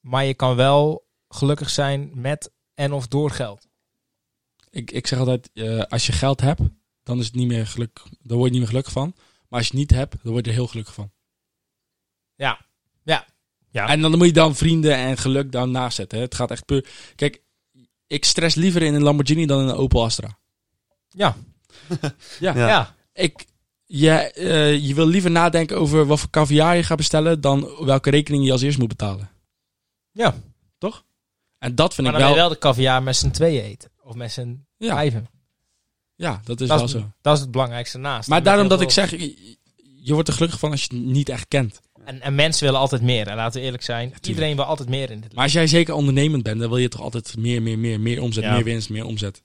S1: Maar je kan wel gelukkig zijn met en of door geld.
S3: Ik, ik zeg altijd, eh, als je geld hebt, dan, is het niet meer geluk, dan word je niet meer gelukkig van. Maar als je het niet hebt, dan word je er heel gelukkig van.
S1: Ja. Ja. Ja.
S3: En dan moet je dan vrienden en geluk dan naast zetten. Hè? Het gaat echt puur... Kijk, ik stress liever in een Lamborghini dan in een Opel Astra.
S1: Ja.
S3: ja.
S1: Ja.
S2: Ja.
S3: Ik, je, eh, je wil liever nadenken over wat voor caviar je gaat bestellen... dan welke rekening je als eerst moet betalen.
S1: Ja.
S3: Toch? En dat vind
S1: Maar dan
S3: ik
S1: wil
S3: wel...
S1: je wel de caviar met z'n tweeën eten. Of met z'n
S3: Ja.
S1: vijven.
S3: Ja, dat is
S1: Dat
S3: wel
S1: is-
S3: zo.
S1: Dat is het belangrijkste naast.
S3: Maar
S1: Dan
S3: daarom
S1: heb
S3: dat
S1: je
S3: ik
S1: heel
S3: zeg, je je wordt er gelukkig van als je het niet echt kent.
S1: veel- En, en mensen willen altijd meer. En laten we eerlijk zijn. Iedereen wil altijd meer in dit
S3: Maar als jij zeker ondernemend bent, dan wil je toch altijd meer, meer, meer, meer omzet,
S1: Ja.
S3: meer winst, meer omzet.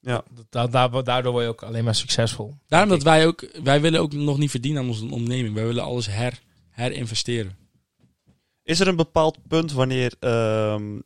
S1: leven. Da- da- Daardoor word je ook alleen maar succesvol.
S3: Daarom dat wij ook, wij willen ook nog niet verdienen aan onze onderneming. Wij willen alles her, herinvesteren.
S2: Is er een bepaald punt wanneer ehm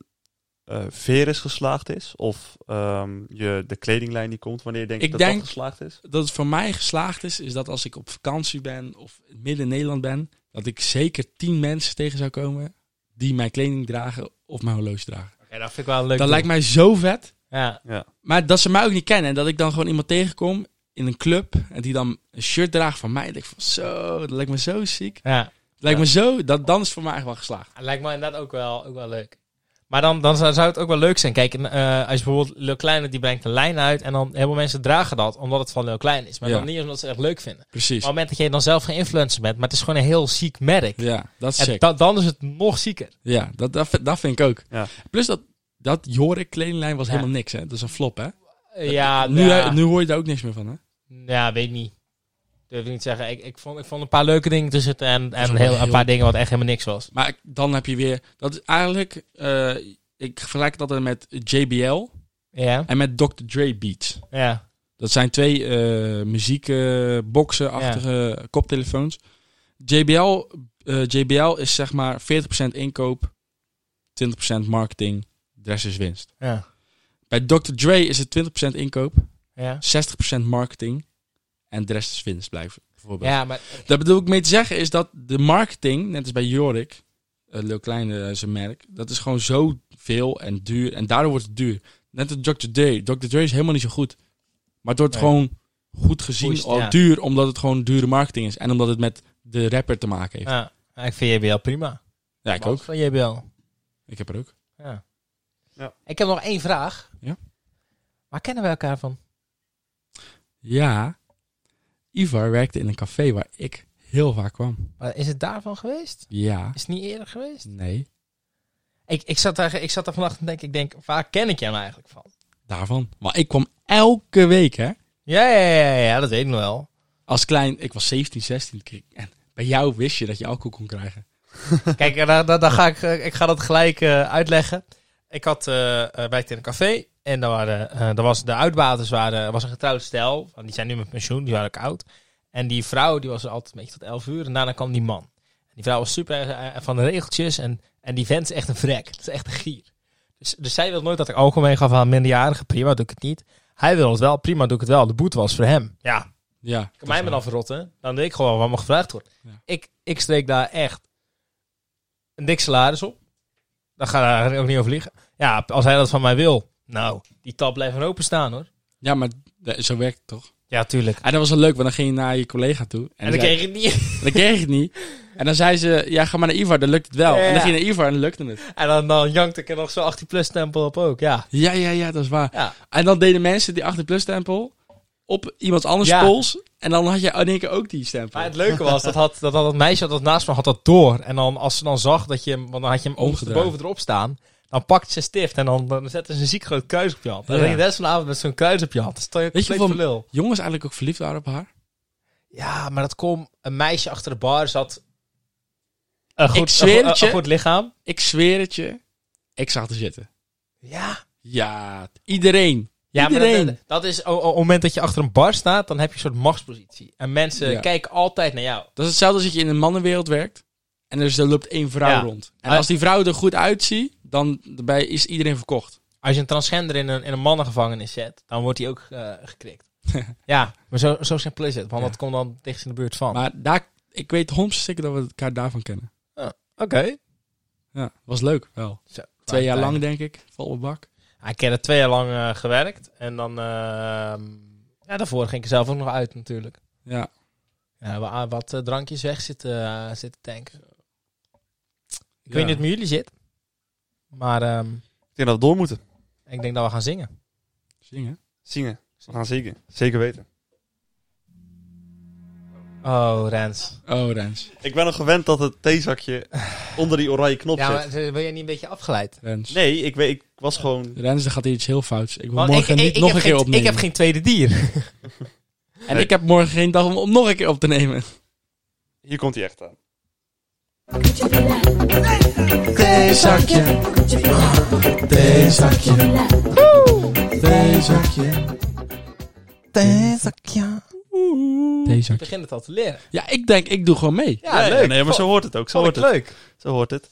S2: eh, Veris geslaagd is? Of ehm, je, de kledinglijn die komt, wanneer denk je
S3: Ik
S2: dat
S3: denk-
S2: dat geslaagd is?
S3: Dat het voor mij geslaagd is, is dat als ik op vakantie ben of midden in Nederland ben, dat ik zeker tien mensen tegen zou komen die mijn kleding dragen of mijn horloge dragen.
S1: Ja, dat vind ik wel een leuk.
S3: dat
S1: doel.
S3: lijkt mij zo vet.
S1: Ja.
S3: Maar dat ze mij ook niet kennen. En dat ik dan gewoon iemand tegenkom in een club. En die dan een shirt draagt van mij. En ik van zo, dat lijkt me zo ziek.
S1: ja.
S3: Dat lijkt me zo, dat, dan is het voor mij echt wel geslaagd.
S1: Het lijkt me inderdaad ook wel, ook wel leuk. Maar dan, dan zou zou het ook wel leuk zijn. Kijk, en, eh, als je bijvoorbeeld Lil Kleine, die brengt een lijn uit. En dan heel veel mensen dragen dat, omdat het van Lil Klein is. Maar
S3: Ja.
S1: dan niet omdat ze het echt leuk vinden. Maar op
S3: Precies.
S1: het moment dat jij dan zelf geen influencer bent, maar het is gewoon een heel ziek merk.
S3: Ja, dat is
S1: En
S3: sick.
S1: da- dan is het nog zieker.
S3: ja, dat, dat, vind- dat vind ik ook.
S2: Ja.
S3: Plus dat, dat Jorik kledinglijn was
S1: Ja.
S3: helemaal niks. Hè? Dat is een flop, hè?
S1: Eh, Ja,
S3: nu,
S1: ja,
S3: nu hoor je daar ook niks meer van, hè?
S1: ja, weet niet. Durf ik niet te zeggen. Ik, ik, vond, ik vond een paar leuke dingen tussen het en,
S3: is
S1: en
S3: wel
S1: heel, een
S3: heel-
S1: paar dingen wat echt helemaal niks was.
S3: Maar ik- dan heb je weer... Dat is eigenlijk... eh, ik vergelijk dat altijd met JBL
S1: Ja,
S3: en met Dr. Dre Beats.
S1: ja,
S3: Dat zijn twee eh muziekboxen-achtige koptelefoons. JBL, eh, JBL is zeg maar 40% inkoop, 20% marketing, de rest is winst.
S1: ja,
S3: Bij Dr. Dre is het 20% inkoop,
S1: ja.
S3: 60% marketing en de rest is winst blijven. Bijvoorbeeld.
S1: Ja, maar
S3: Daar bedoel ik mee te zeggen is dat de marketing, net als bij Jorik, eh Lil Kleine eh, zijn merk, dat is gewoon zo veel en duur. En daardoor wordt het duur. Net als Dr. Dre. Dr. Dre is helemaal niet zo goed. Maar het wordt
S1: Nee.
S3: gewoon goed gezien
S1: Pushed,
S3: al
S1: ja.
S3: duur, omdat het gewoon dure marketing is. En omdat het met de rapper te maken heeft. Ja,
S1: ja, ah, ik vind JBL prima.
S3: ik ook.
S1: Van JBL.
S3: Ik heb er ook.
S1: Ja.
S2: Ja.
S1: Ik heb nog één vraag.
S3: Ja.
S1: Waar kennen we elkaar van?
S3: Ja, Ivar werkte in een café waar ik heel vaak kwam.
S1: Maar Is het daarvan geweest?
S3: Ja.
S1: Is het niet eerder geweest?
S3: Nee,
S1: Ik, ik, zat, daar, ik zat daar vannacht en denk, ik denk, waar ken ik jou nou eigenlijk van?
S3: daarvan. Maar ik kwam elke week, hè.
S1: Ja, ja, ja, ja, ja, dat weet ik nog wel.
S3: Als klein, ik was 17, 16. kreeg- En bij jou wist je dat je alcohol kon krijgen.
S1: Kijk, en dan, dan, dan ga ik, eh, ik ga dat gelijk eh, uitleggen. Ik had, eh eh, werkte in een café en daar waren, eh, daar was, de uitbaters waren, was een getrouwd stel. Want Die zijn nu met pensioen, die waren ook oud. En die vrouw die was er altijd een beetje tot 11 uur en daarna kwam die man. Die vrouw was super eh, van de regeltjes en, en die vent is echt een vrek. Het is echt een gier. Dus, dus zij wil nooit dat ik alcohol meegaf aan minderjarigen. Prima, doe ik het niet. Hij wil het wel, prima, doe ik het wel. De boete was voor hem. Ja,
S3: Ja.
S1: kan mij me dan verrotten. Dan weet ik gewoon wat me gevraagd wordt.
S3: Ja.
S1: Ik, ik streek daar echt een dik salaris op. Dan ga daar ook niet over liggen. Ja, als hij dat van mij wil. Nou, die tab blijft maar openstaan hoor.
S3: Ja, maar de- zo werkt het toch?
S1: Ja, tuurlijk.
S3: En dat was wel leuk, want dan ging je naar je collega toe.
S1: En dan
S3: zei-
S1: kreeg ik niet. <laughs>
S3: dan kreeg je het niet. En dan zei ze, ja, ga maar naar Ivar, dan lukt het wel.
S1: Ja.
S3: En dan ging je naar Ivar en dan lukte het.
S1: En dan, dan jankte ik er nog zo'n 18-plus stempel op ook. Ja.
S3: Ja, ja, ja, dat is waar.
S1: ja.
S3: En dan deden mensen die 18-plus stempel op iemand anders
S1: Ja.
S3: pols. En dan had je in één keer ook die stempel.
S1: Maar het leuke was, dat had dat, had het meisje dat naast me had dat door. En dan, als ze dan zag dat je hem, want dan had je hem
S3: Omgedraaid.
S1: ondersteboven erop staan. Dan pakt ze stift en dan, dan zetten ze een ziek groot kruis op je hand. En dan
S3: Ja.
S1: ging je de rest van de avond met zo'n kruis op je hand. Dan sta je
S3: Weet je
S1: compleet voor
S3: hoeveel-
S1: lul.
S3: Jongens eigenlijk ook verliefd waren op haar.
S1: Ja, maar dat kwam. Een meisje achter de bar zat. Een goed,
S3: Ik zweer
S1: een, go-
S3: het je.
S1: een goed lichaam.
S3: Ik zweer het je, ik zag het er zitten.
S1: Ja.
S3: Ja, iedereen.
S1: Ja, maar
S3: Iedereen.
S1: dat, dat is o- o- op het moment dat je achter een bar staat, dan heb je een soort machtspositie. En mensen
S3: Ja.
S1: kijken altijd naar jou.
S3: Dat is hetzelfde als dat je in een mannenwereld werkt. En er loopt één vrouw
S1: Ja.
S3: rond. En
S1: Ah.
S3: als die vrouw er goed uitziet, dan daarbij is iedereen verkocht.
S1: Als je een transgender in een, in een mannengevangenis zet, dan wordt hij ook eh, gekrikt.
S3: <laughs>
S1: ja, maar zo, zo simpel is het. Want
S3: Ja.
S1: dat komt dan dichtst in de buurt van.
S3: Maar daar, ik weet homs zeker dat we elkaar daarvan kennen.
S1: Oké.
S3: Ja, was leuk wel.
S1: Zo,
S3: Twee jaar
S1: fijn.
S3: lang, denk ik. Vol op bak.
S1: Ja, Ik heb er twee jaar lang eh, gewerkt. En dan... ehm, ja, daarvoor ging ik er zelf ook nog uit natuurlijk.
S3: Ja.
S1: Ja, wa- wat eh, drankjes weg zitten, eh, zitten tanken. Ik weet niet
S3: Ja.
S1: hoe het met jullie zit. Maar ehm,
S2: Ik denk dat we door moeten.
S1: ik denk dat we gaan zingen.
S3: Zingen.
S2: Zingen. We gaan zingen. Zeker weten.
S1: Oh, Rens.
S3: Oh, Rens.
S2: Ik ben nog gewend dat het <sighs> theezakje onder die oranje knop
S1: Ja,
S2: zit.
S1: maar eh, wil je niet een beetje afgeleid?
S3: Rens.
S2: Nee, ik, weet, ik was gewoon...
S3: Rens, er gaat hier iets heel fouts. Ik wil
S1: Want
S3: morgen
S1: ik- ik-
S3: niet
S1: ik
S3: nog
S1: heb
S3: een keer
S1: geen-
S3: opnemen.
S1: Ik heb geen tweede dier.
S3: En ik heb morgen geen dag om, om nog een keer op te nemen.
S2: Hier komt hij echt aan.
S3: Theezakje. Theezakje. Theezakje.
S1: Ik
S3: Theezakje.
S1: begin het al te leren.
S3: Ja, ik denk, ik doe gewoon mee.
S1: Ja,
S2: Nee,
S1: leuk.
S2: Nee, maar zo hoort het ook. Zo
S1: Vond ik
S2: hoort het.
S1: leuk.
S2: Oh, Zo hoort het.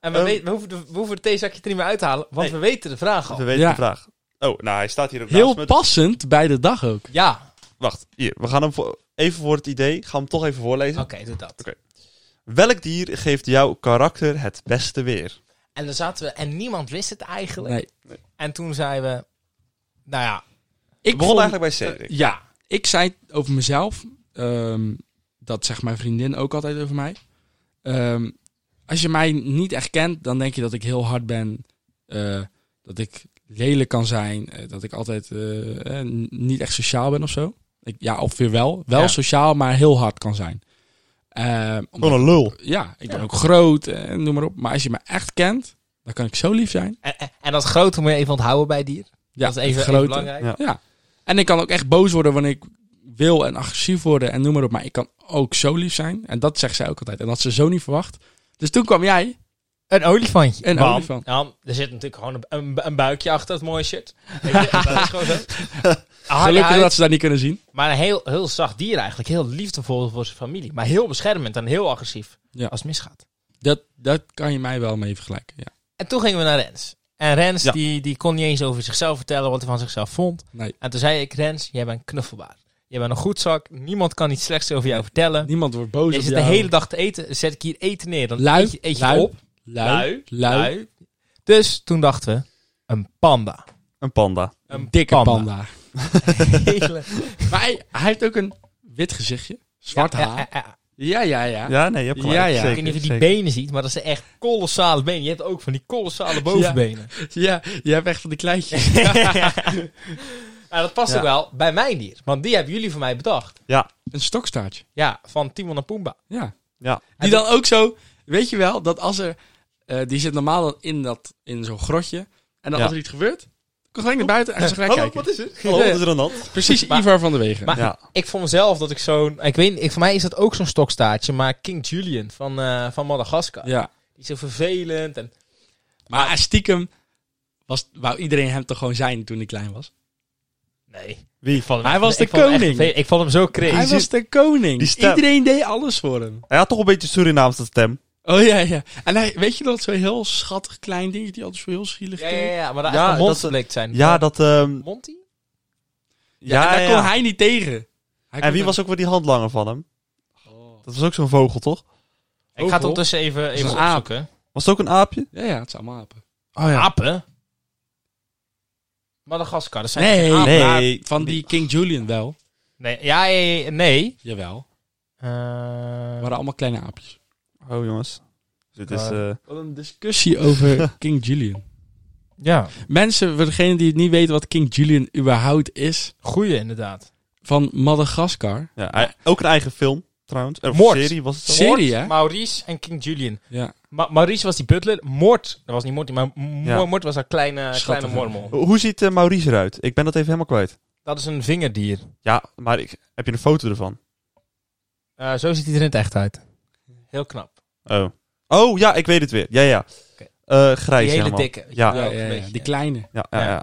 S1: En we,
S2: Ehm,
S1: weten- we hoeven de, we hoeven het theezakje er niet meer uit te halen, want
S2: Nee.
S1: we weten de vraag al.
S2: We weten
S3: Ja.
S2: de vraag. Oh, nou, hij staat hier ook naast
S3: Heel
S2: me.
S3: passend bij de dag ook.
S1: Ja,
S2: Wacht, hier. We gaan hem voor- even voor het idee. Gaan we hem toch even voorlezen.
S1: oké, doe dat.
S2: Welk dier geeft jouw karakter het beste weer?
S1: En dan zaten we, en niemand wist het eigenlijk.
S3: Nee.
S1: En toen zeiden we, nou ja,
S3: Ik
S2: Ik begon
S3: vond- eh,
S2: eigenlijk bij Cedric.
S3: Ja, ik zei over mezelf, ehm, dat zegt mijn vriendin ook altijd over mij. Ehm, als je mij niet echt kent, dan denk je dat ik heel hard ben, eh, dat ik lelijk kan zijn, eh, dat ik altijd eh, eh, n- niet echt sociaal ben of zo. Ik, ja, of weer wel. Wel
S1: Ja. Oh.
S3: sociaal, maar heel hard kan zijn. Ehm, omdat-
S2: Gewoon een lul.
S3: ja, ik ben
S1: Ja.
S3: ook groot, eh, noem maar op. Maar als je me echt kent, dan kan ik zo lief zijn.
S1: En, en, en dat grote moet je even onthouden bij dier.
S3: Ja,
S1: dat is even,
S3: het
S1: even
S3: grote.
S1: belangrijk.
S2: Ja.
S3: Ja. En ik kan ook echt boos worden wanneer ik wil en agressief worden en noem maar op. Maar ik kan ook zo lief zijn. En dat zegt zij ook altijd. En dat had ze zo niet verwacht. Dus toen kwam jij.
S1: Een olifantje.
S3: Een
S1: Want-
S3: olifant.
S1: Ja, er zit natuurlijk gewoon een, een, een buikje achter het mooie shirt. Weet je, dat is
S3: <laughs>
S1: gewoon zo. Een harde
S3: Gelukkig
S1: huid,
S3: dat ze dat niet kunnen zien.
S1: Maar een heel, heel zacht dier eigenlijk. Heel liefdevol voor zijn familie. Maar heel beschermend en heel agressief
S3: Ja.
S1: als het misgaat.
S3: Dat, dat kan je mij wel mee vergelijken. Ja.
S1: En toen gingen we naar Rens. En Rens
S2: Ja.
S1: die, die kon niet eens over zichzelf vertellen wat hij van zichzelf vond.
S3: Nee.
S1: En toen zei ik, Rens, jij bent knuffelbaar. Je bent een goed zak. Niemand kan iets slechts over jou vertellen.
S3: Niemand wordt boos
S1: Je
S3: op
S1: zit de
S3: jou.
S1: hele dag te eten. Dan Zet ik hier eten neer. Dan
S3: Lui,
S1: eet je, eet je
S3: lui,
S1: op.
S3: lui, lui,
S1: lui. Dus toen dachten we, een panda.
S2: Een panda.
S1: Een
S3: dikke panda.
S1: <laughs> Hele-
S3: maar hij, hij heeft ook een wit gezichtje. Zwart
S1: Ja,
S3: haar.
S1: ja, ja, ja.
S3: Ja, ja, ja.
S2: Ja, nee, je hebt gelijk.
S3: Ja, ja.
S1: Ik weet
S2: Zeker,
S1: niet of je die
S2: zeker.
S1: benen ziet, maar dat zijn echt kolossale benen. Je hebt ook van die kolossale <laughs> bovenbenen.
S3: Ja, je hebt echt van die kleintjes.
S1: Maar dat past
S2: Ja.
S1: ook wel bij mijn dier. Want die hebben jullie voor mij bedacht.
S3: Een stokstaartje.
S1: Ja, van Timon en Pumbaa.
S3: Ja.
S2: Ja.
S3: Die dan ook zo, weet je wel, dat als er, eh, die zit normaal dan in, dat- in zo'n grotje. En dan
S2: Ja.
S3: als er iets gebeurt, kon gelijk naar buiten en ze gelijk
S2: Hallo,
S3: kijken.
S2: wat is het? Hallo, wat is er aan de hand?
S3: Precies
S1: Maar-
S3: Ivar van der Wegen.
S1: Maar
S2: Ja.
S1: ik vond mezelf dat ik zo'n... Ik weet niet, ik, voor mij is dat ook zo'n stokstaartje. Maar King Julian van, eh, van Madagaskar.
S3: ja.
S1: Die is zo vervelend. En,
S3: Maar stiekem was, wou iedereen hem toch gewoon zijn toen hij klein was?
S1: nee.
S2: Wie?
S1: vond hem
S3: Hij
S1: echt-
S3: was de
S1: ik vond hem echt
S3: koning.
S1: vervelend. Ik vond hem zo crazy.
S3: Hij was de koning.
S2: die stem.
S3: Iedereen deed alles voor hem.
S2: Hij had toch een beetje Surinaamse stem.
S3: Oh ja, ja. En hij, weet je dat zo'n heel schattig klein dingetje die altijd zo heel schielig
S1: Ja,
S3: keek?
S1: ja, ja, maar daar
S2: Ja,
S1: ja,
S2: dat-
S1: monsterblikt zijn.
S2: Ja, dat... ehm,
S1: Monty?
S3: Ja, en
S2: ja,
S3: daar
S2: ja.
S3: kon hij niet tegen. Hij
S2: En
S3: kon
S2: wie
S3: daar-
S2: was ook weer die handlanger van hem?
S3: Oh.
S2: Dat was ook zo'n vogel, toch?
S1: Ik ga het
S3: Vogel?
S1: ondertussen even, even
S3: een aap.
S1: opzoeken.
S2: Was het ook een aapje?
S3: Ja, ja, het zijn allemaal apen.
S2: Oh
S1: Apen? Madagaskar, dat zijn
S3: Nee,
S1: geen apen.
S2: nee.
S3: maar van die King Julian wel.
S1: Nee, ja, ja, ja, nee.
S3: Jawel.
S1: Eh,
S3: Het waren allemaal kleine aapjes.
S2: Oh, jongens. Dit is...
S1: Ja.
S2: eh,
S3: Wat een discussie
S1: <laughs>
S3: over King Julian.
S1: ja,
S3: Mensen, voor degenen die het niet weten wat King Julian überhaupt is,
S1: goeie inderdaad.
S3: van Madagaskar.
S2: ja, hij- ook een eigen film, trouwens. Eh, Of
S1: Moord.
S2: serie was het zo?
S3: Serie, hè?
S1: Maurice en King Julian.
S3: Ja.
S1: Ma Maurice was die butler. Moord, dat was niet Moord, maar M-
S2: Ja.
S1: Moord was haar kleine, kleine
S3: Schattige.
S1: mormel.
S2: Ho- Hoe ziet eh, Maurice eruit? Ik ben dat even helemaal kwijt.
S1: Dat is een vingerdier.
S2: Ja, maar ik, heb je een foto ervan?
S1: Eh, zo ziet hij er in het echt uit. Heel knap.
S2: Oh. Oh, ja, ik weet het weer. Ja, ja.
S1: Oké.
S2: Eh, grijs
S1: Die hele
S2: helemaal.
S1: dikke.
S2: Ja.
S3: Ja,
S1: Ah, ook een
S3: ja, ja,
S1: beetje.
S3: die kleine.
S2: Ja, ja,
S1: Ja.
S2: ja.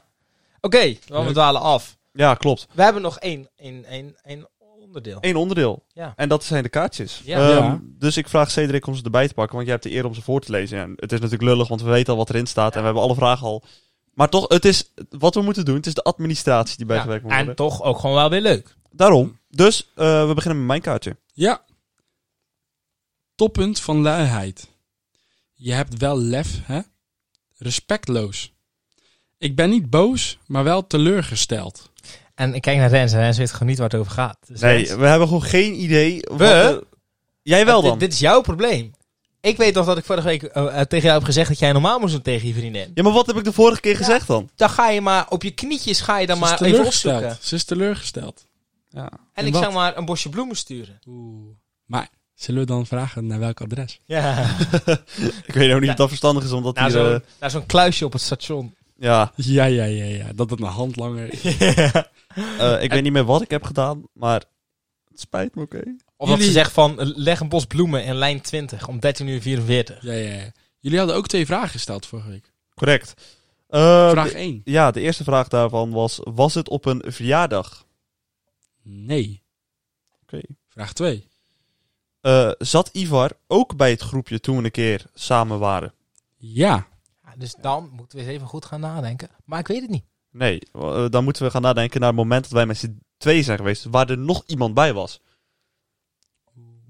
S1: Oké, want we
S3: Leuk.
S1: dwalen af.
S2: ja, klopt.
S1: We hebben nog één, één, één, één onderdeel.
S2: Eén onderdeel.
S1: Ja.
S2: En dat zijn de kaartjes.
S1: Ja.
S2: Ehm,
S3: Ja.
S2: Dus ik vraag Cedric om ze erbij te pakken, want jij hebt de eer om ze voor te lezen. En het is natuurlijk lullig, want we weten al wat erin staat en we hebben alle vragen al. Maar toch, het is wat we moeten doen. Het is de administratie die
S1: Ja,
S2: bijgewerkt moet
S1: en
S2: worden.
S1: toch ook gewoon wel weer leuk.
S2: Daarom. Dus eh, we beginnen met mijn kaartje.
S3: Ja. Toppunt van luiheid. Je hebt wel lef, hè? Respectloos. Ik ben niet boos, maar wel teleurgesteld.
S1: En ik kijk naar Rens en Rens weet gewoon niet waar het over gaat. Dus
S2: Nee,
S1: Rens,
S2: we hebben gewoon geen idee. wat
S1: We? Eh,
S2: er- Jij wel
S1: dit-
S2: dan?
S1: Dit, is jouw probleem. Ik weet nog dat ik vorige week eh, eh, tegen jou heb gezegd dat jij normaal moest doen tegen je vriendin.
S2: Ja, maar wat heb ik de vorige keer gezegd dan?
S1: Dan ga je maar op je knietjes ga je dan
S3: Ze is
S1: maar even opzoeken.
S3: teleurgesteld. Ze is teleurgesteld.
S1: En
S3: In
S1: ik
S3: wat?
S1: zou maar een bosje bloemen sturen.
S3: Oeh. Maar zullen we dan vragen naar welk adres?
S1: Ja,
S2: Ik weet ook niet
S1: Ja. Nou,
S2: of dat verstandig is, <laughs> omdat
S1: naar
S2: hier... eh,
S1: zo'n naar zo'n kluisje op het
S2: <laughs>
S1: station.
S2: ja,
S3: Ja, ja, ja, ja. Dat het een handlanger is.
S2: eh, ik weet niet meer wat ik heb gedaan, maar het spijt me, oké.
S1: Of dat
S3: Jullie-
S1: ze zegt van, eh, leg een bos bloemen in lijn 20 om 13.44 uur.
S3: Ja, ja, ja. Jullie hadden ook twee vragen gesteld vorige week.
S2: Correct. Eh,
S3: Vraag 1.
S2: Ja, de eerste vraag daarvan was: was het op een verjaardag?
S3: Nee.
S2: Oké.
S3: Vraag 2.
S2: Eh, zat Ivar ook bij het groepje toen we een keer samen waren?
S3: Ja.
S1: Ja, dus dan moeten we eens even goed gaan nadenken. Maar ik weet het niet.
S2: Nee, eh, dan moeten we gaan nadenken naar het moment dat wij met z'n twee zijn geweest, waar er nog iemand bij was.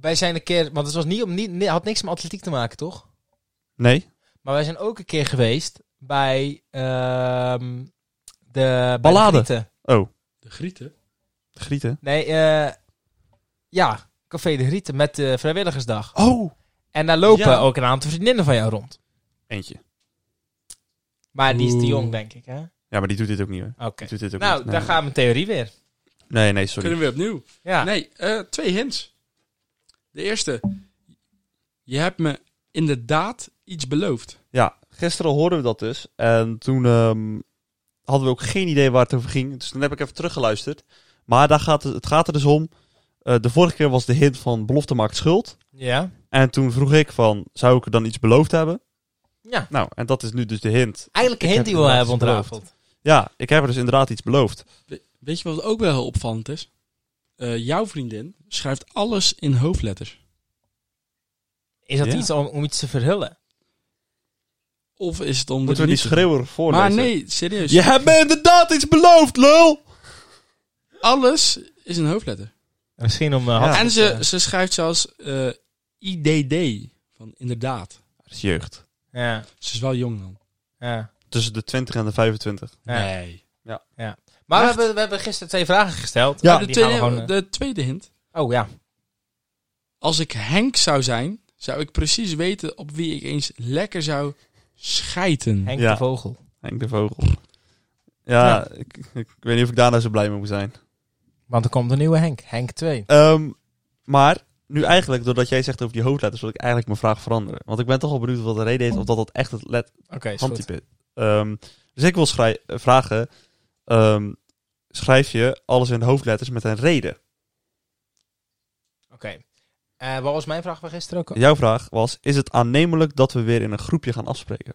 S1: Wij zijn een keer, want het was niet, om- niet, nee, had niks met atletiek te maken, toch?
S2: Nee?
S1: Maar wij zijn ook een keer geweest bij ehm de... bij de
S2: Ballade.
S1: Grieten.
S2: Oh,
S3: De Grieten.
S2: de Grieten.
S1: nee, eh, ja, Café de Grieten met de Vrijwilligersdag.
S2: Oh!
S1: En daar lopen
S2: Ja.
S1: ook een aantal vriendinnen van jou rond.
S2: Eentje.
S1: Maar die is te
S3: Oeh.
S1: jong, denk ik, hè? Oké.
S2: Ja, maar die doet dit ook niet hoor. Die doet dit ook
S1: Nou,
S2: niet. Nee,
S1: daar gaat mijn theorie weer.
S2: Nee, nee, sorry.
S3: Kunnen we opnieuw?
S1: Ja.
S3: Nee, eh, twee hints. De eerste. Je hebt me inderdaad iets beloofd.
S2: Ja, gisteren hoorden we dat dus. En toen ehm, hadden we ook geen idee waar het over ging. Dus toen heb ik even teruggeluisterd. Maar daar gaat het, het gaat er dus om. eh, de vorige keer was de hint van belofte maakt schuld.
S1: Ja.
S2: En toen vroeg ik van, zou ik er dan iets beloofd hebben?
S1: Ja.
S2: Nou, en dat is nu dus de hint.
S1: Eigenlijk een hint
S2: Ik heb
S1: die we wel hebben
S2: inderdaad iets
S1: ontrafeld.
S2: Ja, ik heb er dus inderdaad iets beloofd.
S3: We- weet je wat ook wel heel opvallend is? Eh, jouw vriendin schrijft alles in hoofdletters.
S1: Is dat
S2: Ja.
S1: iets om, om iets te verhullen?
S3: Of is het om
S2: Moeten we
S3: er
S2: niet
S3: niet te doen?
S2: schreeuwen voorlezen?
S3: Maar nee, dus- serieus.
S2: Je hebt me inderdaad iets beloofd, lul!
S3: Alles is een hoofdletter.
S1: Misschien om... eh,
S2: Ja.
S1: hand-
S3: En ze, ze schrijft zelfs eh, IDD. Van inderdaad.
S2: Dat is jeugd.
S1: Ja,
S3: Ze is wel jong dan.
S1: ja,
S2: Tussen de 20 en de 25.
S1: ja.
S3: Nee.
S1: Maar we
S3: Echt?
S1: hebben, we hebben gisteren twee vragen gesteld.
S2: Ja.
S1: En
S3: de,
S1: die gaan
S3: tweede,
S1: we gewoon, eh,
S3: de tweede hint.
S1: Oh ja.
S3: Als ik Henk zou zijn, zou ik precies weten op wie ik eens lekker zou schijten.
S1: Henk
S2: Ja.
S1: de Vogel.
S2: Henk de Vogel. Ja,
S1: Ja.
S2: Ik, ik weet niet of ik daar nou zo blij mee moet zijn.
S1: Want er komt een nieuwe Henk. Henk 2.
S2: Ehm, maar nu eigenlijk, doordat jij zegt over die hoofdletters, wil ik eigenlijk mijn vraag veranderen. Want ik ben toch wel benieuwd wat de reden is of dat, dat echt het let-
S1: Oké, is goed.
S2: handtype is. Ehm, Dus ik wil schrij- eh, vragen, ehm, schrijf je alles in hoofdletters met een reden?
S1: Oké. Eh, wat was mijn vraag van gisteren ook? al?
S2: Jouw vraag was, is het aannemelijk dat we weer in een groepje gaan afspreken?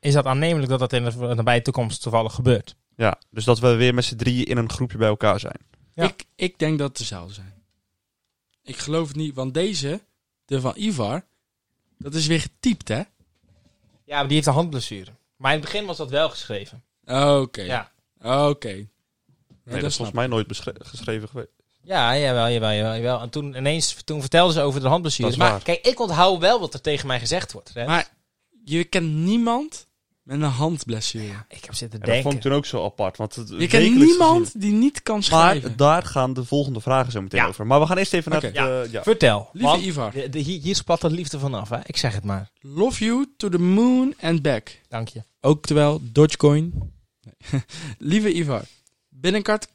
S1: Is dat aannemelijk dat dat in de nabije toekomst toevallig gebeurt?
S2: Ja, dus dat we weer met z'n drieën in een groepje bij elkaar zijn.
S1: Ja.
S3: Ik, ik denk dat het dezelfde zijn. Ik geloof het niet, want deze, de van Ivar, dat is weer getypt, hè?
S1: Ja, maar die heeft een handblessure. Maar in het begin was dat wel geschreven.
S3: Oké.
S1: Ja.
S3: Oké.
S2: Nee,
S3: Nee,
S2: dat,
S3: dat
S2: is
S3: snap
S2: volgens mij nooit beschre- geschreven geweest.
S1: Ja, jawel, jawel, jawel. jawel. En toen ineens toen vertelden ze over de handblessure.
S2: Dat is
S1: Maar
S2: waar.
S1: kijk, ik onthoud wel wat er tegen mij gezegd wordt. Hè?
S3: ik. Maar je kent niemand met een handblessure.
S1: ik heb zitten
S2: En dat vond ik
S1: denken.
S2: toen ook zo apart. Want het
S3: Je kent
S2: wekelijks
S3: niemand
S2: gezien-
S3: die niet kan schrijven.
S2: Maar daar gaan de volgende vragen zo meteen
S1: Ja.
S2: over. Maar we gaan eerst even naar
S3: Oké.
S2: de... Ja.
S1: Vertel.
S3: Lieve
S1: want
S3: Ivar,
S1: de- de- hier, hier spat dat liefde vanaf, hè? Ik zeg het maar.
S3: love you to the moon and back.
S1: Dank je.
S3: Ook terwijl Dogecoin. Nee. <laughs> Lieve Ivar, binnenkort,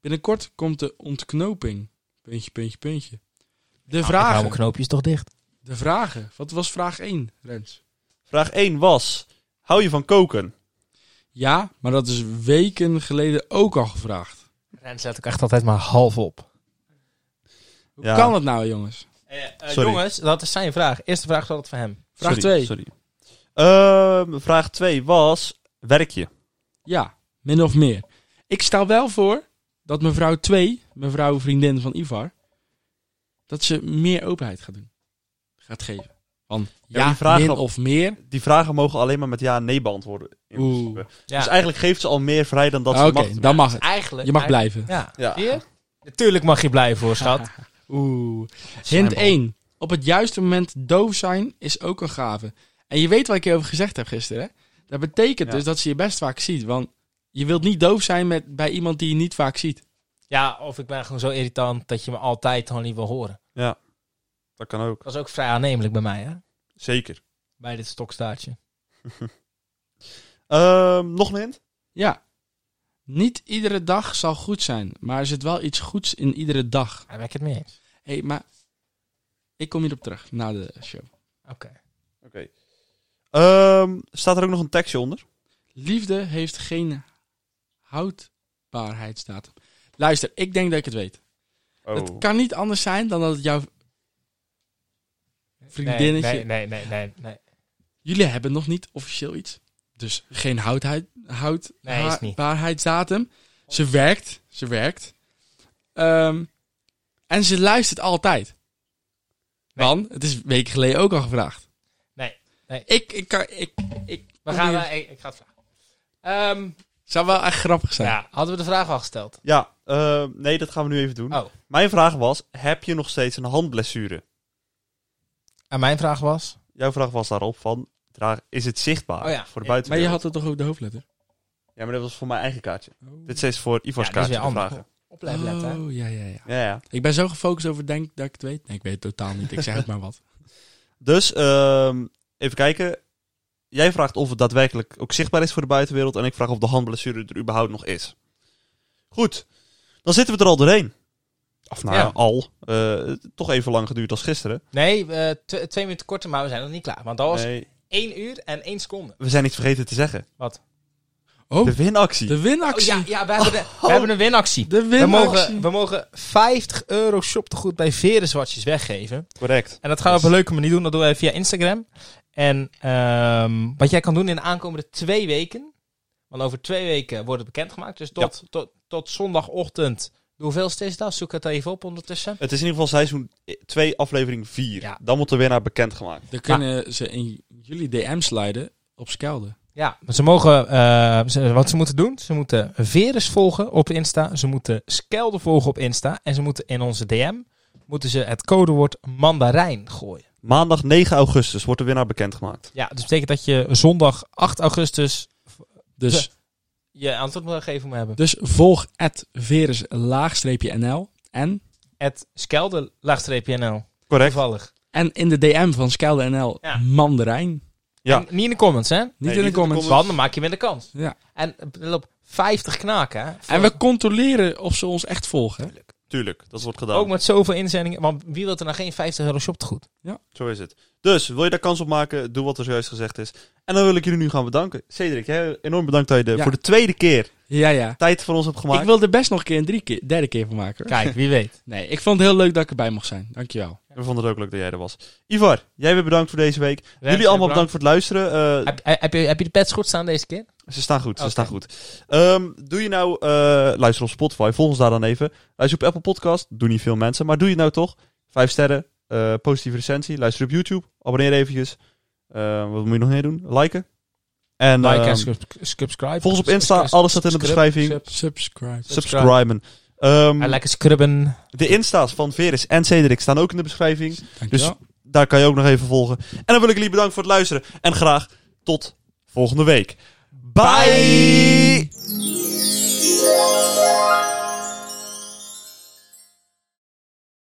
S3: binnenkort komt de ontknoping. Puntje, puntje, puntje. De
S1: Ik hou
S3: vragen.
S1: mijn knoopjes toch dicht.
S3: De vragen. Wat was vraag 1, Rens?
S2: Vraag 1 was, hou je van koken?
S3: Ja, maar dat is weken geleden ook al gevraagd.
S1: En zet ik echt altijd maar half op.
S3: Hoe
S2: Ja.
S3: kan dat nou, jongens?
S1: Eh, eh,
S2: Sorry.
S1: jongens, dat is zijn vraag. Eerste vraag zat het van hem.
S3: Vraag
S2: Sorry,
S3: 2.
S2: Sorry. Ehm, vraag 2 was, werk je?
S3: Ja, min of meer. Ik stel wel voor dat mevrouw 2, mevrouw vriendin van Ivar, dat ze meer openheid gaat doen. Gaat geven. Van
S2: maar die
S3: ja,
S2: vragen
S3: min
S2: op-
S3: of meer.
S2: Die vragen mogen alleen maar met ja en nee beantwoorden. in
S3: Oeh.
S2: principe.
S1: Ja.
S2: Dus eigenlijk geeft ze al meer vrij dan dat
S3: Ah,
S2: ze
S3: Oké,
S2: mag doen.
S3: dan mag het.
S1: Eigenlijk.
S3: Je mag blijven.
S1: Ja.
S2: Ja.
S1: Zie je? Natuurlijk mag je blijven hoor, schat.
S3: Oeh. Hint
S2: Slijmbal.
S3: 1. Op het juiste moment doof zijn is ook een gave. En je weet wat ik je over gezegd heb gisteren. Hè? Dat betekent
S2: Ja.
S3: dus dat ze je best vaak ziet. Want je wilt niet doof zijn met, bij iemand die je niet vaak ziet.
S1: Ja, of ik ben gewoon zo irritant dat je me altijd gewoon niet wil horen.
S2: Dat kan ook.
S1: Dat is ook vrij aannemelijk bij mij, hè?
S2: Zeker.
S1: Bij dit stokstaartje.
S2: Ehm, nog een hint?
S3: Ja. Niet iedere dag zal goed zijn. Maar er zit wel iets goeds in iedere dag.
S1: Daar ben ik het mee eens.
S3: Hé, hey, maar ik kom hierop terug na de show.
S1: Oké.
S2: Oké. Ehm, staat er ook nog een tekstje onder?
S3: Liefde heeft geen houdbaarheidsdatum. Luister, ik denk dat ik het weet.
S2: Oh.
S3: Het kan niet anders zijn dan dat het jouw... Vriendinnetje.
S1: Nee, nee, nee, nee. nee.
S3: Jullie hebben nog niet officieel iets. Dus geen houdheid, houd,
S1: Nee, is niet.
S3: waarheidsdatum. Ze werkt. Ze werkt. Ehm, en ze luistert altijd.
S1: Nee.
S3: Want het is weken geleden ook al gevraagd.
S1: Nee, nee.
S3: Ik, ik kan... Ik, ik,
S1: We gaan, eh, ik, ik ga het vragen. Ehm,
S3: Zou wel echt grappig zijn.
S1: ja, hadden we de vraag al gesteld?
S2: Ja, ehm, nee, dat gaan we nu even
S3: Ah.
S2: doen.
S1: Oh.
S2: Mijn vraag was, heb je nog steeds een handblessure?
S1: En mijn vraag was?
S2: Jouw vraag was daarop van, draag, is het zichtbaar
S1: Oh ja.
S2: voor de
S1: Ja,
S3: Maar je
S2: buitenwereld?
S3: had het toch ook de hoofdletter?
S2: Ja, maar dat was voor mijn eigen kaartje. Dit is voor Ivo's
S1: Ja, dit Oh. is
S2: kaartje
S1: weer
S2: de
S1: anders.
S2: vragen.
S1: Op blijven letten, hè?
S3: Oh, ja, ja, ja.
S2: Ja, ja.
S3: Ik ben zo gefocust over denk dat ik het weet. Nee, ik weet het totaal niet. Ik zeg
S1: <laughs>
S3: het maar wat.
S2: Dus, ehm, even kijken. Jij vraagt of het daadwerkelijk ook zichtbaar is voor de buitenwereld. En ik vraag of de handblessure er überhaupt nog is. Goed, dan zitten we er al doorheen. Of nou,
S1: Ja.
S2: ja, al. Eh, toch even lang geduurd als gisteren.
S1: Nee, eh, tw- twee minuten korter, maar we zijn nog niet klaar. Want dat was
S2: Nee,
S1: één uur en één seconde. Oh,
S2: we zijn iets vergeten te zeggen. De
S3: Oh, de,
S2: winactie.
S3: winactie.
S1: Oh, ja, ja we, hebben de- we hebben een winactie.
S3: De
S1: We
S3: winactie.
S1: mogen, we mogen 50 euro shoptegoed bij Verenzwartjes weggeven.
S2: Correct.
S1: En dat gaan we
S2: Yes.
S1: op een leuke manier doen. Dat doen we via Instagram. En ehm, wat jij kan doen in de aankomende twee weken. Want over twee weken wordt het bekendgemaakt. Dus tot, tot, tot zondagochtend. De hoeveelste is dat? Zoek het even op ondertussen.
S2: Het is in ieder geval seizoen 2, aflevering 4.
S1: Ja.
S2: Dan wordt de winnaar bekendgemaakt.
S3: Dan kunnen ze in jullie DM sliden op Skelde.
S1: Ja, maar ze mogen, eh, ze- wat ze moeten doen, ze moeten Veres volgen op Insta, ze moeten Skelde volgen op Insta en ze moeten in onze DM moeten ze het codewoord mandarijn gooien.
S2: Maandag 9 augustus wordt de winnaar bekendgemaakt.
S1: Ja, dat betekent dat je zondag 8 augustus
S3: Dus,
S1: je antwoord moet geven moet hebben.
S3: dus volg at Verus laagstreepje NL. En,
S1: Het Skelde laagstreepje NL.
S2: Correct.
S1: Toevallig.
S3: en in de DM van Skelde NL
S1: Ja.
S3: Mandarijn. Niet
S2: Ja.
S1: En niet in de comments, hè?
S2: Nee,
S3: in de comments.
S1: Want dan maak je minder kans.
S3: Ja.
S1: En eh, er loopt 50 knaken, hè?
S3: En we controleren of ze ons echt volgen.
S2: Tuurlijk, dat wordt gedaan.
S1: Ook met zoveel inzendingen. Want wie wil er nou geen 50 euro shoptegoed?
S2: Zo is het. Dus, wil je daar kans op maken, doe wat er zojuist gezegd is. En dan wil ik jullie nu gaan bedanken. Cedric, jij, enorm bedankt dat je de-
S3: Ja.
S2: voor de tweede keer
S3: Ja, ja.
S2: tijd voor ons hebt gemaakt.
S3: Ik wil er best nog een keer een drie keer, derde keer van maken. hoor.
S1: Kijk, wie <laughs> weet.
S3: Nee, ik vond het heel leuk dat ik erbij mocht zijn. Dankjewel.
S2: We vonden het ook leuk dat jij er was. Ivar, jij weer bedankt voor deze week.
S1: Rens,
S2: jullie
S1: bedankt.
S2: allemaal bedankt voor het luisteren. Eh,
S1: Heb, heb, heb je, heb je de pets goed staan deze keer?
S2: Ze staan goed, ze
S1: Oké.
S2: staan goed. Ehm, doe je nou, eh, luister op Spotify, volg ons daar dan even. Luister op Apple Podcast, doen niet veel mensen, maar doe je het nou toch. Vijf sterren, eh, positieve recensie, luister op YouTube, abonneer eventjes. Eh, wat moet je nog meer doen? Liken. En,
S1: Like
S2: ehm,
S1: en sub- subscribe.
S2: volg ons op Insta,
S1: Subscribe,
S2: alles staat in de
S1: subscribe,
S2: beschrijving.
S1: sub-
S3: Subscribe.
S1: subscribe.
S2: subscriben. Ehm,
S1: En lekker scrubben.
S2: de Insta's van Veris en Cedric staan ook in de beschrijving. Dus
S3: Dankjewel.
S2: daar kan je ook nog even volgen. En dan wil ik jullie bedanken voor het luisteren. En graag tot volgende week. Bye.